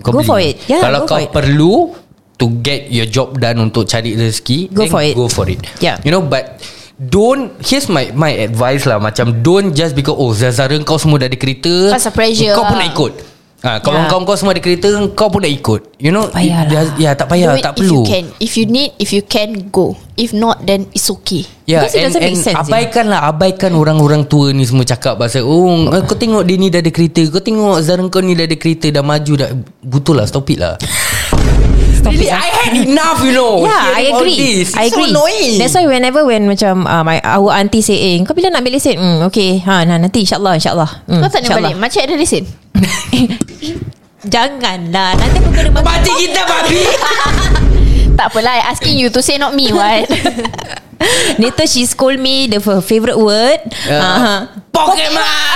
[SPEAKER 2] kau
[SPEAKER 4] Go
[SPEAKER 2] beli.
[SPEAKER 4] for it. Yeah,
[SPEAKER 2] kalau
[SPEAKER 4] go
[SPEAKER 2] kau
[SPEAKER 4] for it.
[SPEAKER 2] perlu to get your job done untuk cari rezeki, then
[SPEAKER 4] Go for it. Ya.
[SPEAKER 2] Go for it.
[SPEAKER 4] Yeah.
[SPEAKER 2] You know but Don't Here's my my advice lah Macam don't just because Oh Zazara kau semua dah ada kereta
[SPEAKER 3] Pasal pressure
[SPEAKER 2] Kau pun
[SPEAKER 3] lah.
[SPEAKER 2] nak ikut ha, Kawan-kawan kau semua ada kereta Kau pun nak ikut You know
[SPEAKER 4] Tak payah
[SPEAKER 2] it-
[SPEAKER 4] lah.
[SPEAKER 2] dah- Ya tak payah
[SPEAKER 3] Do it
[SPEAKER 2] Tak
[SPEAKER 3] if
[SPEAKER 2] perlu
[SPEAKER 3] you can If you need If you can go If not then it's okay
[SPEAKER 2] Ya,
[SPEAKER 4] Because it doesn't make sense,
[SPEAKER 2] abaikan lah Abaikan orang-orang tua ni semua cakap pasal Oh eh, kau tengok dia ni dah ada kereta Kau tengok Zara kau ni dah ada kereta Dah maju dah Betul lah stop it lah
[SPEAKER 4] Stop
[SPEAKER 2] it. I had enough, you know.
[SPEAKER 4] Yeah, I
[SPEAKER 2] Oh, hearing all
[SPEAKER 4] agree.
[SPEAKER 2] This. It's
[SPEAKER 4] I agree.
[SPEAKER 2] So annoying.
[SPEAKER 4] That's why whenever when macam uh, my our auntie say, "Eh, kau bila nak ambil lesen?" Hmm, okay. Ha, nah, nanti insya-Allah, insya-Allah. Hmm,
[SPEAKER 3] Kau tanya
[SPEAKER 4] insya-Allah.
[SPEAKER 3] balik Makcik ada lesen
[SPEAKER 4] Janganlah. Nanti aku kena makan.
[SPEAKER 2] Mati kita, babi.
[SPEAKER 3] Tak apalah I asking you to say not me what
[SPEAKER 4] Later she scold me the her favourite word.
[SPEAKER 2] Uh,
[SPEAKER 4] Uh-huh.
[SPEAKER 2] Pokemon.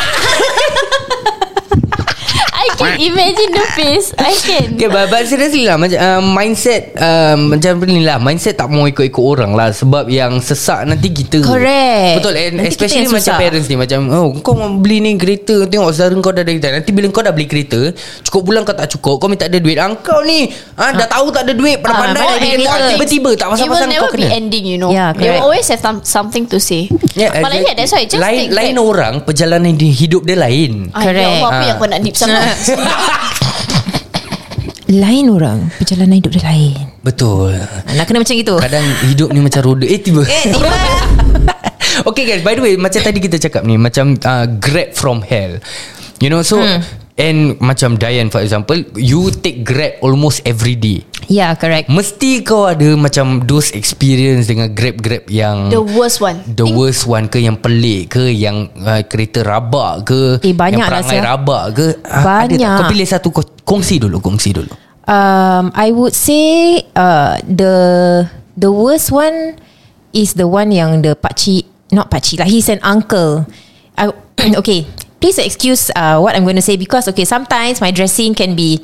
[SPEAKER 3] I can imagine the face I can
[SPEAKER 2] Okay, but, but seriously lah macam uh, mindset um, macam ni lah mindset tak mau ikut-ikut orang lah sebab yang sesak nanti kita
[SPEAKER 4] Correct.
[SPEAKER 2] betul and
[SPEAKER 4] Eh, Nanti kita
[SPEAKER 2] especially
[SPEAKER 4] yang
[SPEAKER 2] macam
[SPEAKER 4] susah.
[SPEAKER 2] parents ni macam oh kau mau beli ni kereta tengok saudara kau dah ada kereta nanti bila kau dah beli kereta cukup bulan kau tak cukup kau minta ada duit ah kau ni ah dah tahu tak ada duit
[SPEAKER 4] Ah,
[SPEAKER 2] pandai-pandai ah,
[SPEAKER 4] mana ada
[SPEAKER 2] kereta
[SPEAKER 4] duit.
[SPEAKER 2] tiba-tiba tak
[SPEAKER 3] It
[SPEAKER 2] pasal-pasal
[SPEAKER 3] will never
[SPEAKER 2] kau
[SPEAKER 3] be
[SPEAKER 2] kena Ya,
[SPEAKER 3] ending you know
[SPEAKER 4] Yeah,
[SPEAKER 3] They
[SPEAKER 4] correct.
[SPEAKER 3] will always have some, something to say Malah yeah that's why Just
[SPEAKER 2] lain,
[SPEAKER 3] take
[SPEAKER 2] lain
[SPEAKER 3] Grab.
[SPEAKER 2] orang perjalanan di hidup dia lain
[SPEAKER 3] Ah, Ya Allah, apa
[SPEAKER 2] Correct.
[SPEAKER 3] yang kau nak deep sama
[SPEAKER 4] Lain orang Perjalanan hidup dia lain
[SPEAKER 2] betul
[SPEAKER 4] Nak kena macam gitu
[SPEAKER 2] kadang hidup ni macam roda eh tiba eh Okay guys By the way Macam tadi kita cakap ni Macam uh, Grab from hell You know so hmm. And macam Diane for example You take Grab almost every day
[SPEAKER 4] Yeah correct
[SPEAKER 2] Mesti kau ada macam Those experience dengan Grab-Grab yang
[SPEAKER 3] The worst one
[SPEAKER 2] The worst one ke Yang pelik ke Yang uh, kereta rabak ke
[SPEAKER 4] Eh, banyak
[SPEAKER 2] Yang
[SPEAKER 4] lah,
[SPEAKER 2] perangai
[SPEAKER 4] Sia.
[SPEAKER 2] rabak ke Ah, ada tak?
[SPEAKER 4] Banyak.
[SPEAKER 2] Kau pilih satu kau, Kongsi dulu Kongsi dulu
[SPEAKER 4] um, I would say uh, The The worst one Is the one yang The pakcik Not pakcik lah He's an uncle I, Okay Please excuse uh, What I'm going to say Because okay Sometimes my dressing can be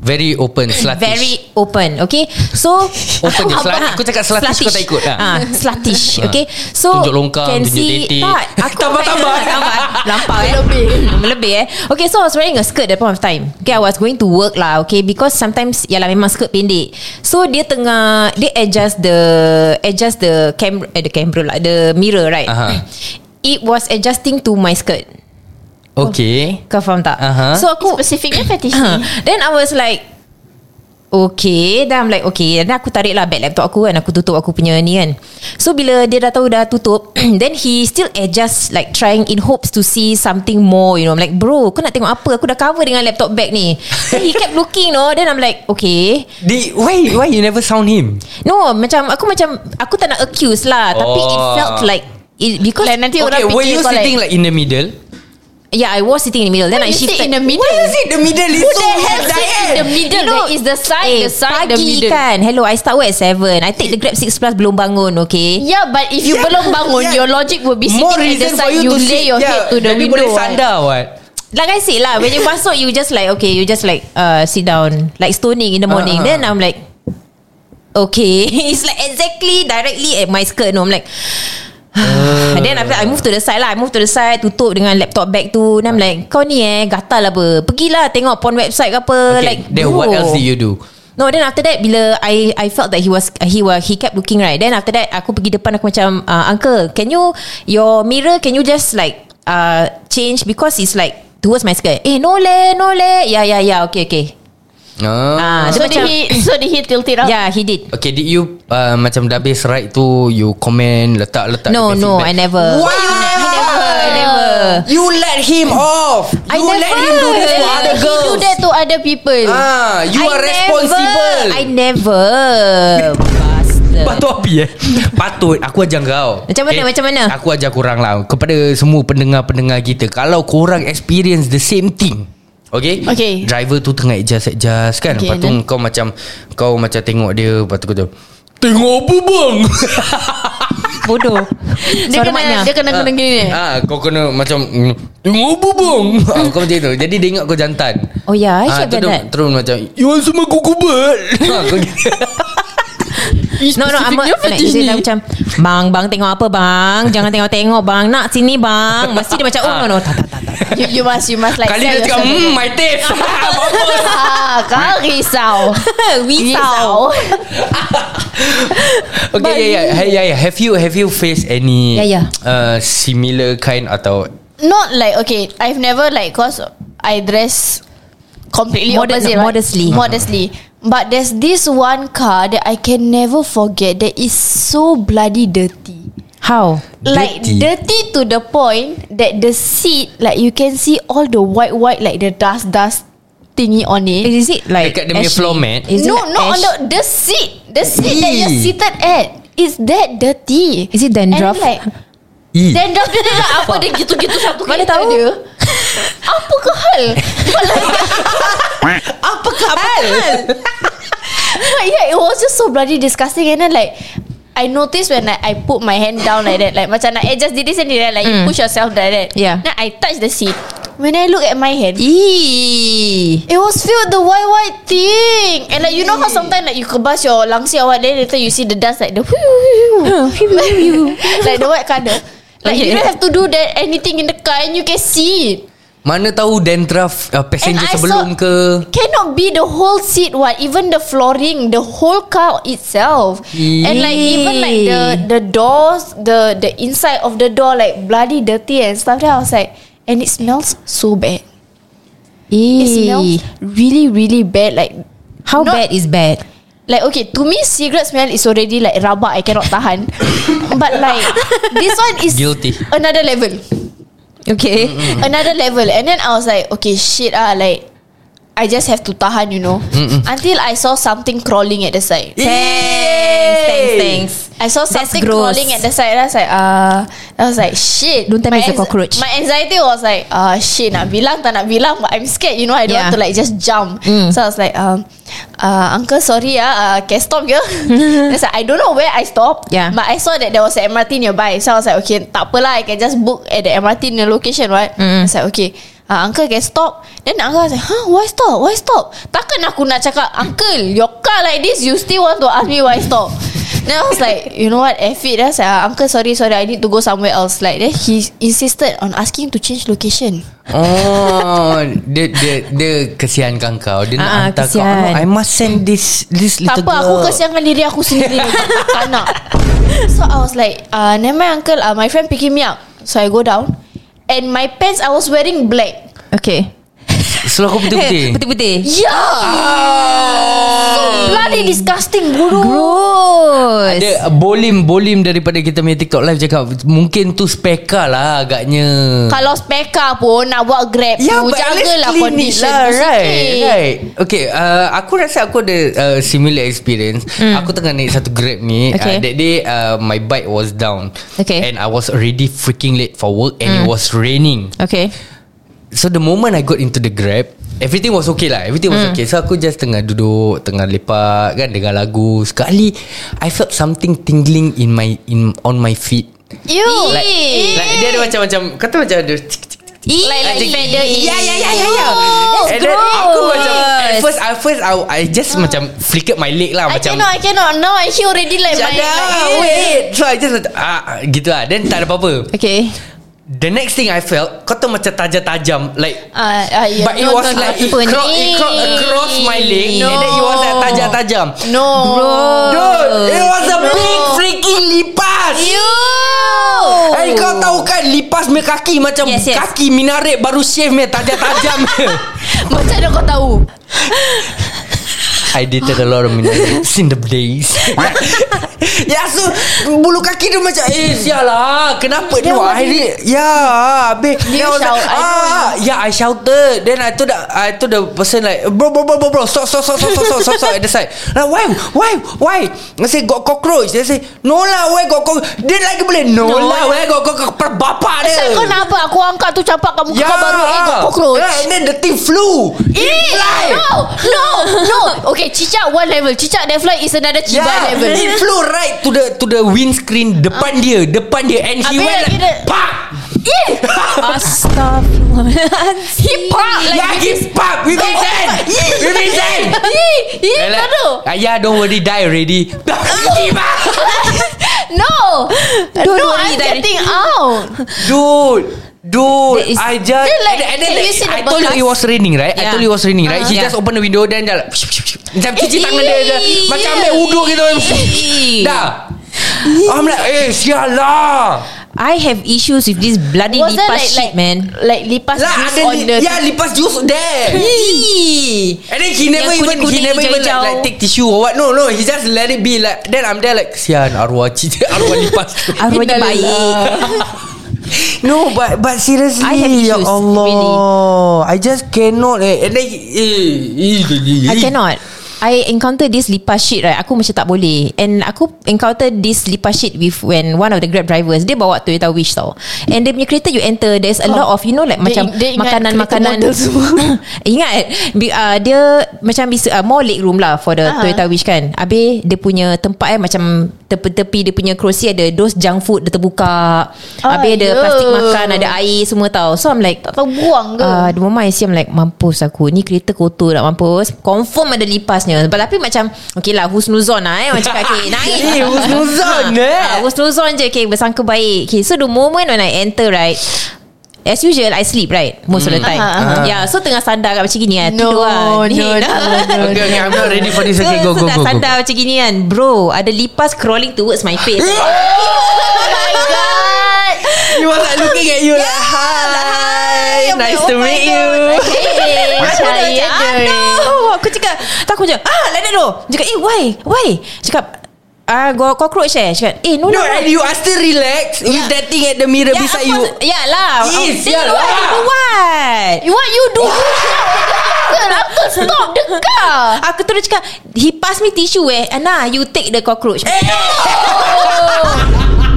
[SPEAKER 2] Very open Sluttish
[SPEAKER 4] Very open Okay So
[SPEAKER 2] Open je, slut- aku cakap sluttish, kau tak ikut, ah.
[SPEAKER 4] ah, Sluttish Okay So
[SPEAKER 2] Tunjuk longkang,
[SPEAKER 4] can
[SPEAKER 2] tunjuk
[SPEAKER 4] see-
[SPEAKER 2] tetek.
[SPEAKER 4] Tak aku
[SPEAKER 2] Tambah, tambah.
[SPEAKER 4] tambah Lampau eh Lebih Lebih eh Okay so I was wearing a skirt At that point of time Okay I was going to work lah Okay because sometimes Yalah memang skirt pendek So dia tengah Dia adjust the Adjust the camera eh, The camera lah The mirror right
[SPEAKER 2] Aha.
[SPEAKER 4] It was adjusting to my skirt
[SPEAKER 2] Okay
[SPEAKER 4] Kau faham tak
[SPEAKER 2] Aha.
[SPEAKER 4] So aku
[SPEAKER 3] Specificnya fetish
[SPEAKER 4] Then I was like Okay Then I'm like okay Then aku tarik lah Back laptop aku kan Aku tutup aku punya ni kan So bila dia dah tahu Dah tutup Then he still adjust Like trying in hopes To see something more You know I'm like bro Kau nak tengok apa Aku dah cover dengan laptop bag ni Then he kept looking no Then I'm like Okay
[SPEAKER 2] Di, Why why you never sound him
[SPEAKER 4] No macam Aku macam Aku tak nak accuse lah Tapi it
[SPEAKER 2] Oh.
[SPEAKER 4] felt like it, Because
[SPEAKER 3] Like nanti
[SPEAKER 2] Okay
[SPEAKER 3] orang
[SPEAKER 2] were you
[SPEAKER 3] fikir kau
[SPEAKER 2] sitting like in the middle
[SPEAKER 4] Yeah I was sitting in the middle Then I
[SPEAKER 3] Why you sit
[SPEAKER 4] shifted
[SPEAKER 3] in the middle Why you
[SPEAKER 2] the middle is
[SPEAKER 3] Who the hell sit in the middle
[SPEAKER 4] No,
[SPEAKER 3] There is the side The side
[SPEAKER 4] eh,
[SPEAKER 3] The
[SPEAKER 4] pagi
[SPEAKER 3] middle
[SPEAKER 4] kan Hello I start work at 7 I take the grab 6 plus Belum bangun okay
[SPEAKER 3] Yeah but if
[SPEAKER 2] Yeah.
[SPEAKER 3] you belum bangun
[SPEAKER 2] Yeah.
[SPEAKER 3] Your logic will be sitting
[SPEAKER 2] More
[SPEAKER 3] at the
[SPEAKER 2] reason for
[SPEAKER 3] side
[SPEAKER 2] you
[SPEAKER 3] You
[SPEAKER 2] to
[SPEAKER 3] lay
[SPEAKER 2] sit
[SPEAKER 3] your
[SPEAKER 2] yeah,
[SPEAKER 3] head to the
[SPEAKER 2] Lagi
[SPEAKER 3] window Uh,
[SPEAKER 2] boleh
[SPEAKER 3] right?
[SPEAKER 2] sandar what
[SPEAKER 4] Like I said lah When you masuk You just like Okay you just like uh, Sit down Like stoning in the morning
[SPEAKER 2] Ah, ah,
[SPEAKER 4] Then
[SPEAKER 3] Uh-huh.
[SPEAKER 4] I'm like Okay It's like exactly Directly at my skirt No I'm like And then after that, I move to the side lah I move to the side Tutup dengan laptop bag tu Then I'm like Kau ni eh Gatal apa Pergilah tengok porn website ke
[SPEAKER 2] okay,
[SPEAKER 4] apa Like
[SPEAKER 2] Then
[SPEAKER 4] bro.
[SPEAKER 2] what else did you do
[SPEAKER 4] No then after that Bila I I felt that he was He was he kept looking right Then after that Aku pergi depan Aku macam uh, Uncle can you Your mirror Can you just like uh, Change Because it's like Towards my skirt Eh no le No le Yeah yeah yeah ya, Okay okay
[SPEAKER 2] Ah.
[SPEAKER 4] Ah,
[SPEAKER 3] So
[SPEAKER 4] dia
[SPEAKER 3] did
[SPEAKER 4] macam Ya.
[SPEAKER 3] he So did he tilt it up
[SPEAKER 4] Yeah he did
[SPEAKER 2] Okay did you uh, Macam dah habis ride tu You comment Letak-letak
[SPEAKER 4] No
[SPEAKER 2] dia
[SPEAKER 4] no
[SPEAKER 2] feedback.
[SPEAKER 4] I never
[SPEAKER 2] Why you
[SPEAKER 4] I
[SPEAKER 2] never
[SPEAKER 4] never I never
[SPEAKER 2] You let him off You
[SPEAKER 4] I never.
[SPEAKER 2] let him do that to
[SPEAKER 4] He
[SPEAKER 2] other
[SPEAKER 3] He
[SPEAKER 2] girls
[SPEAKER 3] do that to other people
[SPEAKER 2] ah, You
[SPEAKER 4] I
[SPEAKER 2] are
[SPEAKER 4] never.
[SPEAKER 2] responsible
[SPEAKER 4] I never Bastard
[SPEAKER 2] Patut api eh Patut Aku ajar kau
[SPEAKER 4] Macam mana, macam mana?
[SPEAKER 2] Aku ajar korang lah Kepada semua pendengar-pendengar kita Kalau korang experience the same thing Okay
[SPEAKER 3] Okay.
[SPEAKER 2] Driver tu tengah adjust-adjust kan okay,
[SPEAKER 3] Okay,
[SPEAKER 2] Lepas tu
[SPEAKER 3] then.
[SPEAKER 2] kau macam Kau macam tengok dia Lepas tu kau tu Tengok apa bang
[SPEAKER 4] Bodoh
[SPEAKER 3] Dia kena Dia kena kena gini eh.
[SPEAKER 2] ah, Kau kena macam mm, Tengok apa bang ah, Kau macam tu Jadi dia ingat kau jantan
[SPEAKER 4] Oh yeah I
[SPEAKER 2] Ah,
[SPEAKER 4] should
[SPEAKER 2] tu dia
[SPEAKER 4] have done that
[SPEAKER 2] Terus macam You want semua kuku bel ah, kau gitu.
[SPEAKER 4] No no I'm
[SPEAKER 3] Specifically
[SPEAKER 4] not like,
[SPEAKER 3] fetish
[SPEAKER 4] dia
[SPEAKER 3] ni.
[SPEAKER 4] dah macam Bang bang tengok apa bang Jangan tengok-tengok bang Nak sini bang Mesti dia macam Oh no no tak, tak, tak, tak.
[SPEAKER 3] you, you must You must like
[SPEAKER 2] Kali
[SPEAKER 3] set
[SPEAKER 2] dia cakap
[SPEAKER 3] yourself.
[SPEAKER 2] Hmm my teeth
[SPEAKER 3] ah, Kau risau
[SPEAKER 4] Risau
[SPEAKER 2] Okay yeah, yeah yeah yeah yeah. Have you have you faced any
[SPEAKER 4] Yeah, yeah.
[SPEAKER 2] Uh, similar kind atau
[SPEAKER 3] Not like Okay I've never like Cause I dress Completely
[SPEAKER 4] Moder- no,
[SPEAKER 3] opposite right?
[SPEAKER 4] modestly.
[SPEAKER 3] Modestly But there's this one car That I can never forget That is so bloody dirty
[SPEAKER 4] How?
[SPEAKER 3] Like
[SPEAKER 2] Dirty?
[SPEAKER 3] dirty to the point That the seat Like you can see All the white white Like the dust dust thingy on it.
[SPEAKER 4] Is it like
[SPEAKER 2] Dekat dia punya
[SPEAKER 4] ashy?
[SPEAKER 2] floor mat?
[SPEAKER 4] Is
[SPEAKER 3] no,
[SPEAKER 4] it
[SPEAKER 3] not on
[SPEAKER 4] ash-
[SPEAKER 3] the the seat, the seat that you're
[SPEAKER 2] Ee.
[SPEAKER 3] seated at. Is that dirty?
[SPEAKER 4] Is it
[SPEAKER 3] And
[SPEAKER 4] dandruff?
[SPEAKER 3] Like,
[SPEAKER 2] E.
[SPEAKER 3] dandruff dia tak apa dia gitu-gitu satu
[SPEAKER 4] Mana
[SPEAKER 3] kereta
[SPEAKER 4] tahu?
[SPEAKER 3] dia. Apa ke hal?
[SPEAKER 2] Apa khabar?
[SPEAKER 3] yeah, it was just so bloody disgusting and then like I noticed when I, I put my hand down like that Like macam nak adjust diri sendiri Like you
[SPEAKER 4] Mm.
[SPEAKER 3] push yourself like that
[SPEAKER 4] Yeah.
[SPEAKER 3] Then I touch the seat When I look at my hand
[SPEAKER 4] Eee.
[SPEAKER 3] It was filled with the white white thing And like you know how sometimes Like you kebas your langsi or what Then later you see the dust Like the Like the white colour Like you don't have to do that Anything in the car And you can see it
[SPEAKER 2] Mana tahu dandruff uh, passenger
[SPEAKER 3] And I
[SPEAKER 2] sebelum
[SPEAKER 3] saw-
[SPEAKER 2] ke?
[SPEAKER 3] Cannot be the whole seat What even the flooring The whole car itself And like even like the The doors The the inside of the door Like bloody dirty and stuff Then I was like And it smells so bad It smells really really bad Like
[SPEAKER 4] How
[SPEAKER 3] not-
[SPEAKER 4] bad is bad?
[SPEAKER 3] Like okay To me cigarette smell Is already like rabak I cannot tahan But like This one is
[SPEAKER 2] Guilty.
[SPEAKER 3] Another level
[SPEAKER 4] Okay.
[SPEAKER 3] Another level And then I was like Okay shit ah Like I just have to tahan you know Until I saw something crawling at the side
[SPEAKER 4] Thanks, thanks, thanks.
[SPEAKER 3] I saw
[SPEAKER 4] That's
[SPEAKER 3] something
[SPEAKER 4] gross.
[SPEAKER 3] crawling at the side and I was like uh, I was like shit
[SPEAKER 4] Don't tell me
[SPEAKER 3] My
[SPEAKER 4] it's a cockroach.
[SPEAKER 3] My anxiety was like uh, Shit nak bilang tak nak bilang But I'm scared you know I don't
[SPEAKER 4] Yeah.
[SPEAKER 3] want to like just jump
[SPEAKER 4] Mm.
[SPEAKER 3] So I was like um, uh, Uncle sorry ah uh, Can stop here I was like, I don't know where I stop
[SPEAKER 4] Yeah.
[SPEAKER 3] But I saw that there was an MRT nearby So I was like okay tak apalah I can just book at the MRT near location right
[SPEAKER 4] Mm.
[SPEAKER 3] I was like okay Uh, uncle can stop Then the uncle was like Huh why stop Why stop Takkan aku nak cakap Uncle your car like this You still want to ask me why stop Then I was like You know what F it Then I was like "Ah, Uncle sorry sorry I need to go somewhere else Like then he insisted On asking to change location
[SPEAKER 2] Oh, dia dia dia kesiankan kau. Dia nak
[SPEAKER 4] Ah,
[SPEAKER 2] hantar kau. No,
[SPEAKER 4] kesian.
[SPEAKER 2] I must send this this
[SPEAKER 3] Tak
[SPEAKER 2] little
[SPEAKER 3] apa aku
[SPEAKER 2] girl.
[SPEAKER 3] kesiangan diri aku sendiri Tak nak So I was like uh, Never mind uncle uh, My friend picking me up So I go down And my pants I was wearing black
[SPEAKER 4] Okay.
[SPEAKER 2] Selalu aku putih-putih.
[SPEAKER 4] Putih-putih.
[SPEAKER 3] Yeah So bloody disgusting Bro
[SPEAKER 4] Gross.
[SPEAKER 2] Dia bolim-bolim daripada kita punya TikTok live cakap mungkin tu speka lah agaknya.
[SPEAKER 3] Kalau speka pun Nak buat grab
[SPEAKER 2] Ya,
[SPEAKER 3] tu
[SPEAKER 2] but at least
[SPEAKER 3] Jagalah
[SPEAKER 2] clean it
[SPEAKER 3] condition
[SPEAKER 2] lah,
[SPEAKER 3] tu
[SPEAKER 2] right,
[SPEAKER 3] sikit.
[SPEAKER 2] right. Okay, uh, aku rasa aku ada uh, similar experience. Aku tengah naik satu grab ni. Uh,
[SPEAKER 4] Okay.
[SPEAKER 2] that day, uh, my bike was down.
[SPEAKER 4] Okay.
[SPEAKER 2] And I was already freaking late for work and it was raining.
[SPEAKER 4] Okay.
[SPEAKER 2] So the moment I got into the grab Everything was okay lah Everything was okay So aku just tengah duduk Tengah lepak Kan dengar lagu Sekali I felt something tingling In my in On my feet
[SPEAKER 3] You
[SPEAKER 2] Like,
[SPEAKER 4] Eh.
[SPEAKER 2] like Dia ada macam-macam Kata macam ada cik- cik- cik-
[SPEAKER 3] Like like
[SPEAKER 2] Macam- Ya
[SPEAKER 3] feather
[SPEAKER 2] ya ya ya ya
[SPEAKER 3] That's
[SPEAKER 2] And then aku
[SPEAKER 3] gross.
[SPEAKER 2] macam At first I, first I, I just
[SPEAKER 4] Ah.
[SPEAKER 2] macam Flickered my leg lah
[SPEAKER 3] I
[SPEAKER 2] Macam
[SPEAKER 3] cannot I cannot Now I hear already like my
[SPEAKER 2] Jada
[SPEAKER 3] like,
[SPEAKER 2] Wait So I just ah, Gitu lah Then tak ada apa-apa
[SPEAKER 4] Okay.
[SPEAKER 2] The next thing I felt Kau tahu macam tajam-tajam Like
[SPEAKER 3] Ah, ah, yeah.
[SPEAKER 2] But it
[SPEAKER 3] No,
[SPEAKER 2] was
[SPEAKER 3] no, no.
[SPEAKER 2] like it,
[SPEAKER 4] Ya, apa
[SPEAKER 2] cro-
[SPEAKER 4] ni?
[SPEAKER 2] it cro- across my leg
[SPEAKER 4] No.
[SPEAKER 2] and then it was like tajam-tajam.
[SPEAKER 3] No
[SPEAKER 2] Dude, it was a big freaking lipas.
[SPEAKER 4] You.
[SPEAKER 2] Hey, kau tahu kan lipas punya kaki macam
[SPEAKER 4] Yes, yes.
[SPEAKER 2] kaki minaret baru shave punya tajam-tajam.
[SPEAKER 3] Macam mana kau tahu
[SPEAKER 2] I dated a lot of minarets in the days. ya so bulu kaki dia macam eh sialah kenapa dia
[SPEAKER 3] Then what
[SPEAKER 2] I
[SPEAKER 3] did
[SPEAKER 2] re- ya habis
[SPEAKER 3] You
[SPEAKER 2] Then I was
[SPEAKER 3] shout, I know
[SPEAKER 2] ah yeah I shouted then I told the, I told the person like bro bro bro bro bro stop stop stop stop stop stop stop, stop at the side like, why why why I say got cockroach they say no lah where got cockroach dia lagi boleh no,
[SPEAKER 3] No.
[SPEAKER 2] lah where got cockroach per bapak dia
[SPEAKER 3] Asal kau nak apa Aku angkat tu campak kamu
[SPEAKER 2] Ya.
[SPEAKER 3] yeah. Kau baru Eh kau cockroach
[SPEAKER 2] Yeah, and then the thing flew It
[SPEAKER 3] Eh,
[SPEAKER 2] fly
[SPEAKER 3] No No No Okay cicak one level Cicak that fly is another cicak
[SPEAKER 2] Yeah,
[SPEAKER 3] level Ah.
[SPEAKER 2] it flew right to the to the windscreen depan dia, depan dia, and he
[SPEAKER 3] Habis
[SPEAKER 2] went
[SPEAKER 3] lagi
[SPEAKER 2] like,
[SPEAKER 3] dia-
[SPEAKER 2] pop.
[SPEAKER 3] Eh
[SPEAKER 4] Astaghfirullahaladzim.
[SPEAKER 3] He park like
[SPEAKER 2] yeah, he
[SPEAKER 3] this Oh,
[SPEAKER 2] pop with his hand, with his hand.
[SPEAKER 3] Eh
[SPEAKER 2] And
[SPEAKER 3] Eh kau
[SPEAKER 2] like,
[SPEAKER 3] tu
[SPEAKER 2] "Ah, yeah, don't worry, die already.
[SPEAKER 3] No
[SPEAKER 4] Don't
[SPEAKER 3] No
[SPEAKER 4] worry,
[SPEAKER 3] I'm
[SPEAKER 4] Daddy.
[SPEAKER 3] getting out
[SPEAKER 2] dude. Dude,
[SPEAKER 4] That is-
[SPEAKER 2] I just
[SPEAKER 3] Then like,
[SPEAKER 2] and, and then
[SPEAKER 3] have you
[SPEAKER 2] like,
[SPEAKER 3] seen
[SPEAKER 2] I
[SPEAKER 3] the
[SPEAKER 2] told you
[SPEAKER 3] bekas?
[SPEAKER 2] it was raining, right? I
[SPEAKER 4] Yeah.
[SPEAKER 2] told you it was raining, right? He
[SPEAKER 4] Uh-huh.
[SPEAKER 2] just open the window then dia like, macam cuci tangan dia, dia
[SPEAKER 4] Eee.
[SPEAKER 2] macam ambil wuduk gitu.
[SPEAKER 4] Eee.
[SPEAKER 2] Dah. I'm like, eh, sial lah.
[SPEAKER 4] I have issues with this bloody
[SPEAKER 3] Was
[SPEAKER 4] lipas
[SPEAKER 3] that like,
[SPEAKER 4] shit,
[SPEAKER 3] like
[SPEAKER 4] man.
[SPEAKER 3] Like lipas
[SPEAKER 2] Lah,
[SPEAKER 3] juice
[SPEAKER 2] ada
[SPEAKER 3] on
[SPEAKER 2] li-
[SPEAKER 3] the
[SPEAKER 2] yeah, lipas juice there.
[SPEAKER 4] Eee.
[SPEAKER 2] And then he never
[SPEAKER 4] Yang
[SPEAKER 2] even he
[SPEAKER 4] kuning-kuning,
[SPEAKER 2] never even like,
[SPEAKER 4] hijau-hijau.
[SPEAKER 2] like take tissue or what. No, no, he just let it be like. Then I'm there like sian arwah cicit arwah lipas.
[SPEAKER 4] Arwahnya baik.
[SPEAKER 2] No but But seriously
[SPEAKER 4] I have
[SPEAKER 2] Ya
[SPEAKER 4] issues,
[SPEAKER 2] Allah
[SPEAKER 4] really.
[SPEAKER 2] I just cannot eh. And then eh, eh,
[SPEAKER 4] I cannot I encounter this lipas shit right Aku macam tak boleh And aku encounter this lipas shit With when one of the grab drivers Dia bawa Toyota Wish tau And dia punya kereta you enter There's a lot of You know like
[SPEAKER 3] Oh.
[SPEAKER 4] macam
[SPEAKER 3] Dia- dia ingat
[SPEAKER 4] Makanan-makanan
[SPEAKER 3] kereta model semua.
[SPEAKER 4] Ingat Be- uh, Dia macam is, uh, More leg room lah For the
[SPEAKER 3] Ah.
[SPEAKER 4] Toyota Wish kan Habis dia punya tempat eh Macam tepi-tepi dia punya kerusi Ada those junk food Dia terbuka Habis ada
[SPEAKER 3] Aiyo.
[SPEAKER 4] plastik makan Ada air semua tau So I'm like
[SPEAKER 3] Tak tahu Ah. buang ke
[SPEAKER 4] Ah, uh, the moment I see I'm like Mampus aku Ni kereta kotor nak mampus Confirm ada lipasnya But tapi macam Okay lah husnuzon lah eh Orang cakap okay naik
[SPEAKER 2] Eh, husnuzon, eh?
[SPEAKER 4] Ah, Husnuzon je Okay bersangka baik Okay so the moment when I enter right As usual I sleep right Most of the time
[SPEAKER 3] Aha,
[SPEAKER 2] aha.
[SPEAKER 4] Yeah so tengah sandar kat macam gini kan
[SPEAKER 3] Hmm. Ah, No,
[SPEAKER 4] Tidur lah Ni
[SPEAKER 3] no, no,
[SPEAKER 4] dah.
[SPEAKER 3] no,
[SPEAKER 2] Okay, okay, I'm not ready for this.
[SPEAKER 4] So,
[SPEAKER 2] Okay, go,
[SPEAKER 4] so
[SPEAKER 2] go,
[SPEAKER 4] dah
[SPEAKER 2] go, go.
[SPEAKER 4] sandar macam gini kan Bro Ada lipas crawling towards my
[SPEAKER 2] Oh
[SPEAKER 4] face
[SPEAKER 2] You was like looking at you like
[SPEAKER 4] Hi,
[SPEAKER 2] Hi Nice
[SPEAKER 4] I'm
[SPEAKER 2] to
[SPEAKER 4] like, oh my
[SPEAKER 2] meet you
[SPEAKER 4] God.
[SPEAKER 3] Eh,
[SPEAKER 4] Aku dah
[SPEAKER 3] percaya
[SPEAKER 4] macam ah,
[SPEAKER 3] dia.
[SPEAKER 4] no Aku cakap Tak aku macam Ah like that though Dia Cakap eh why Why Cakap Ah, go cockroach eh Cakap Eh no no, Ya,
[SPEAKER 2] No and you are still relaxed With that thing at the mirror
[SPEAKER 4] Yeah,
[SPEAKER 2] beside
[SPEAKER 4] of
[SPEAKER 2] you
[SPEAKER 4] course. Yeah lah
[SPEAKER 2] Yes,
[SPEAKER 4] Then
[SPEAKER 2] yeah
[SPEAKER 4] you what?
[SPEAKER 2] lah.
[SPEAKER 4] You do what
[SPEAKER 3] You What you do Aku stop Dekat
[SPEAKER 4] Aku terus cakap He pass me tissue eh Ana you take the cockroach
[SPEAKER 2] Eh,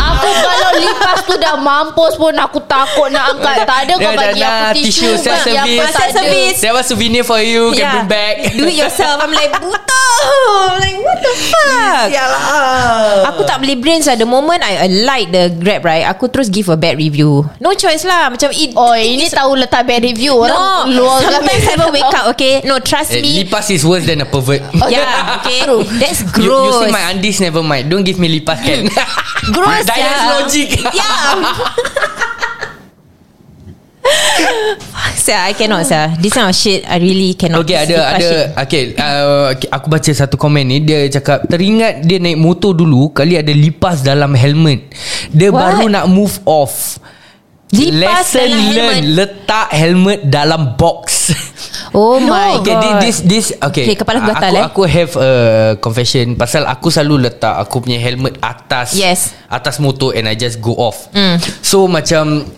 [SPEAKER 3] Aku kalau lipas tu dah mampus pun Aku takut nak angkat Tak ada kau
[SPEAKER 2] Dah, dah,
[SPEAKER 3] bagi
[SPEAKER 2] dah,
[SPEAKER 3] aku tisu
[SPEAKER 2] tissue, self
[SPEAKER 3] bagi aku
[SPEAKER 2] service.
[SPEAKER 3] tak
[SPEAKER 4] Self
[SPEAKER 3] ada.
[SPEAKER 4] service. Ya.
[SPEAKER 2] That was souvenir for you Can
[SPEAKER 4] Yeah.
[SPEAKER 2] bring back
[SPEAKER 4] Do it yourself I'm like Buta I'm like what the fuck
[SPEAKER 2] Sialah
[SPEAKER 4] Aku tak beli brains lah The moment I alight the grab right Aku terus give a bad review No choice lah Macam it
[SPEAKER 3] Oh ini tahu letak bad review Orang
[SPEAKER 4] no,
[SPEAKER 3] luar
[SPEAKER 4] sometimes I will wake up, okay? No, trust
[SPEAKER 2] Eh,
[SPEAKER 4] me.
[SPEAKER 2] lipas is worse than a pervert
[SPEAKER 4] Yeah, Ya, okay.
[SPEAKER 3] True.
[SPEAKER 4] That's
[SPEAKER 2] You, you
[SPEAKER 4] gross.
[SPEAKER 2] see my undies never mind Don't give me lipas can
[SPEAKER 4] gross. ya.
[SPEAKER 2] That is
[SPEAKER 4] yeah.
[SPEAKER 2] logic
[SPEAKER 4] Yeah. Fuck, sia, I cannot sah. This kind of shit, I really cannot.
[SPEAKER 2] Okay ada
[SPEAKER 4] This lipas
[SPEAKER 2] ada
[SPEAKER 4] shit.
[SPEAKER 2] okay, uh, okay, aku baca satu komen ni dia cakap teringat dia naik motor dulu kali ada lipas dalam helmet. Dia
[SPEAKER 4] What?
[SPEAKER 2] baru nak move off.
[SPEAKER 4] Lipas
[SPEAKER 2] Lesson
[SPEAKER 4] dalam
[SPEAKER 2] learn
[SPEAKER 4] helmet.
[SPEAKER 2] letak helmet dalam box.
[SPEAKER 4] Oh my
[SPEAKER 2] okay,
[SPEAKER 4] god.
[SPEAKER 2] this this okay.
[SPEAKER 4] Okay, kepala gatal,
[SPEAKER 2] aku,
[SPEAKER 4] eh.
[SPEAKER 2] Aku have a confession pasal aku selalu letak aku punya helmet atas
[SPEAKER 4] Yes.
[SPEAKER 2] atas motor and I just go off.
[SPEAKER 4] Mm.
[SPEAKER 2] So macam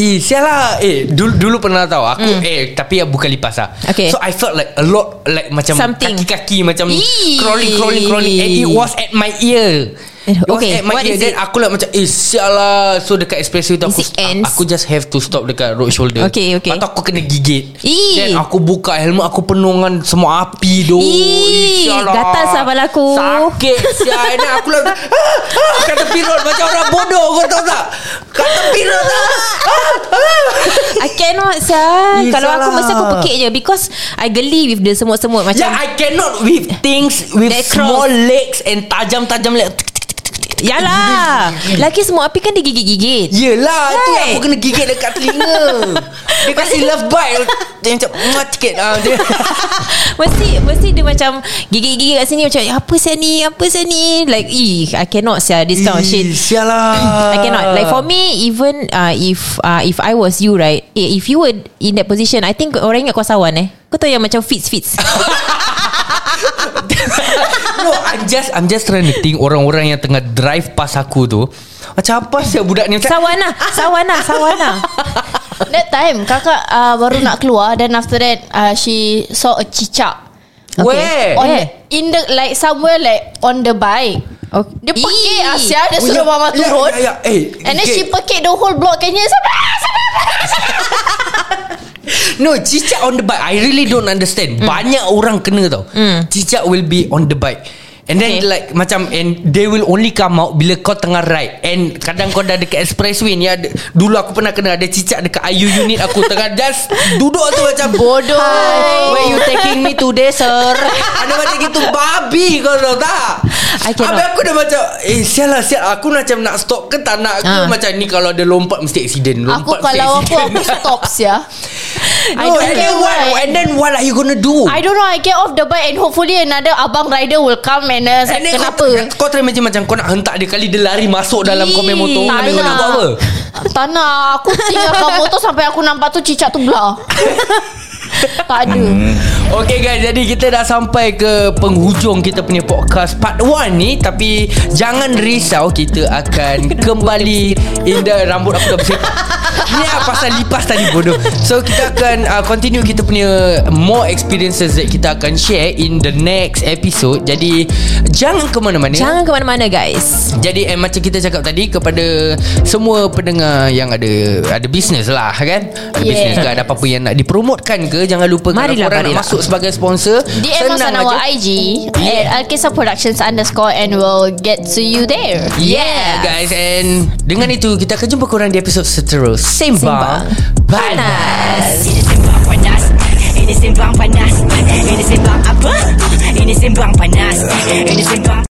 [SPEAKER 2] Eh sial lah Eh dulu, dulu pernah tahu Aku mm. eh Tapi bukan lipas lah
[SPEAKER 4] Hmm. Okay.
[SPEAKER 2] So I felt like a lot Like macam
[SPEAKER 4] Something.
[SPEAKER 2] Kaki-kaki macam
[SPEAKER 4] Eee.
[SPEAKER 2] Crawling crawling crawling And it was at my ear
[SPEAKER 4] Eh,
[SPEAKER 2] It was
[SPEAKER 4] okay,
[SPEAKER 2] at my
[SPEAKER 4] what
[SPEAKER 2] ear
[SPEAKER 4] is
[SPEAKER 2] Then
[SPEAKER 4] it?
[SPEAKER 2] aku like macam Eh sial lah So dekat expressway tu
[SPEAKER 4] Is
[SPEAKER 2] aku,
[SPEAKER 4] it ants?
[SPEAKER 2] aku just have to stop Dekat road shoulder
[SPEAKER 4] Okay, okay.
[SPEAKER 2] Lepas tu aku kena gigit
[SPEAKER 4] Eee.
[SPEAKER 2] Then aku buka helmet Aku penuh dengan Semua api doh
[SPEAKER 4] Eee,
[SPEAKER 2] sial lah.
[SPEAKER 4] gatal sah kepala aku.
[SPEAKER 2] Sakit sial And then aku like ah, ah, Kat tepi road Macam orang bodoh Kau tahu tak Kat tepi road tak
[SPEAKER 4] I cannot sah.
[SPEAKER 2] Eh,
[SPEAKER 4] Kalau aku
[SPEAKER 2] salah.
[SPEAKER 4] mesti aku pekik je because I geli with the semut-semut macam
[SPEAKER 2] Yeah, Ya, I cannot with things with
[SPEAKER 4] That
[SPEAKER 2] small
[SPEAKER 4] cross.
[SPEAKER 2] legs and tajam-tajam leg.
[SPEAKER 4] Yalah Laki semua api kan dia gigit-gigit
[SPEAKER 2] Yelah, right. tu yang
[SPEAKER 4] Right.
[SPEAKER 2] aku kena gigit dekat telinga. dia kasi love bite. Dia macam muat sikit. Ah, dia.
[SPEAKER 4] Mesti Mesti dia macam Gigit-gigit kat sini Macam apa saya ni Apa saya ni Like ih, I cannot sia This kind
[SPEAKER 2] Ih,
[SPEAKER 4] of shit
[SPEAKER 2] Sial lah.
[SPEAKER 4] I cannot Like for me Even uh, if uh, If I was you right eh, If you were in that position I think orang ingat kau sawan eh Kau tahu yang macam fits-fits
[SPEAKER 2] No, I'm just I'm just trying to think orang-orang yang tengah drive pas aku tu. Macam apa sih budak ni? Macam,
[SPEAKER 4] Sawan lah Sawan lah Sawan lah
[SPEAKER 3] That time kakak uh, baru nak keluar Then after that uh, She saw a cicak
[SPEAKER 4] Okay.
[SPEAKER 2] Where?
[SPEAKER 3] On
[SPEAKER 4] Eh.
[SPEAKER 3] the, in the like somewhere like on the bike.
[SPEAKER 4] okay.
[SPEAKER 3] Dia pekik
[SPEAKER 4] Ih.
[SPEAKER 3] Asia Dia
[SPEAKER 2] Oh, ya,
[SPEAKER 3] suruh mama
[SPEAKER 2] ya,
[SPEAKER 3] turun
[SPEAKER 2] ya, ya. Eh,
[SPEAKER 3] And then
[SPEAKER 2] okay.
[SPEAKER 3] she pekik the whole block Kenya
[SPEAKER 2] No, cicak on the bike. I really don't
[SPEAKER 3] Hmm.
[SPEAKER 2] understand. Mm. Banyak orang kena tau. Mm. Cicak will be on the bike. And then
[SPEAKER 4] Okay.
[SPEAKER 2] okay. like macam and they will only come out bila kau tengah ride. And kadang kau dah dekat expressway ni ada dulu aku pernah kena ada cicak dekat IU unit aku tengah just duduk tu macam bodoh.
[SPEAKER 3] Hi,
[SPEAKER 2] where you taking me today sir? ada macam gitu babi kau tahu tak?
[SPEAKER 4] I cannot.
[SPEAKER 2] Habis aku dah macam Eh sial lah sial Aku macam nak stop ke tak nak ke
[SPEAKER 4] Ah.
[SPEAKER 2] Macam ni kalau dia lompat Mesti accident lompat,
[SPEAKER 3] Aku
[SPEAKER 2] mesti
[SPEAKER 3] kalau aku
[SPEAKER 2] accident.
[SPEAKER 3] Aku stop Sia
[SPEAKER 2] No,
[SPEAKER 3] I don't
[SPEAKER 2] and
[SPEAKER 3] care
[SPEAKER 2] then what?
[SPEAKER 3] why.
[SPEAKER 2] And then what are you gonna do?
[SPEAKER 3] I don't know I get off the bike And hopefully another Abang rider will come And uh,
[SPEAKER 2] and then
[SPEAKER 3] Kenapa
[SPEAKER 2] Kau, kau try macam macam kau nak hentak dia kali dia lari masuk dalam
[SPEAKER 4] Ih,
[SPEAKER 2] komen motor.
[SPEAKER 4] tak
[SPEAKER 2] Habis kau nak buat apa?
[SPEAKER 3] lah. Tak nak Aku tinggalkan motor Sampai aku nampak tu Cicak tu belah Tak ada
[SPEAKER 2] Hmm. Okay guys Jadi kita dah sampai ke Penghujung kita punya podcast Part 1 ni Tapi Jangan risau Kita akan Kembali Indah rambut aku dah bersepak Ni lah pasal lipas tadi bodoh So kita akan uh, Continue kita punya More experiences That kita akan share In the next episode Jadi Jangan ke mana-mana
[SPEAKER 4] Jangan ke mana-mana guys
[SPEAKER 2] jadi eh, macam kita cakap tadi kepada semua pendengar yang ada ada bisnes lah kan. Ada
[SPEAKER 3] Yes.
[SPEAKER 2] bisnes ke ada apa-apa yang nak dipromotkan ke jangan lupa kalau
[SPEAKER 4] Marilah,
[SPEAKER 2] korang nak
[SPEAKER 4] marilah.
[SPEAKER 2] masuk sebagai sponsor
[SPEAKER 3] DM us on our IG At Alkisah Productions underscore And we'll get to you there
[SPEAKER 2] Yeah guys and dengan itu kita akan jumpa korang di episod seterus. Sembang, Sembang. Panas.
[SPEAKER 1] Ini sembang panas Ini sembang panas Ini sembang apa? Ini sembang panas Ini sembang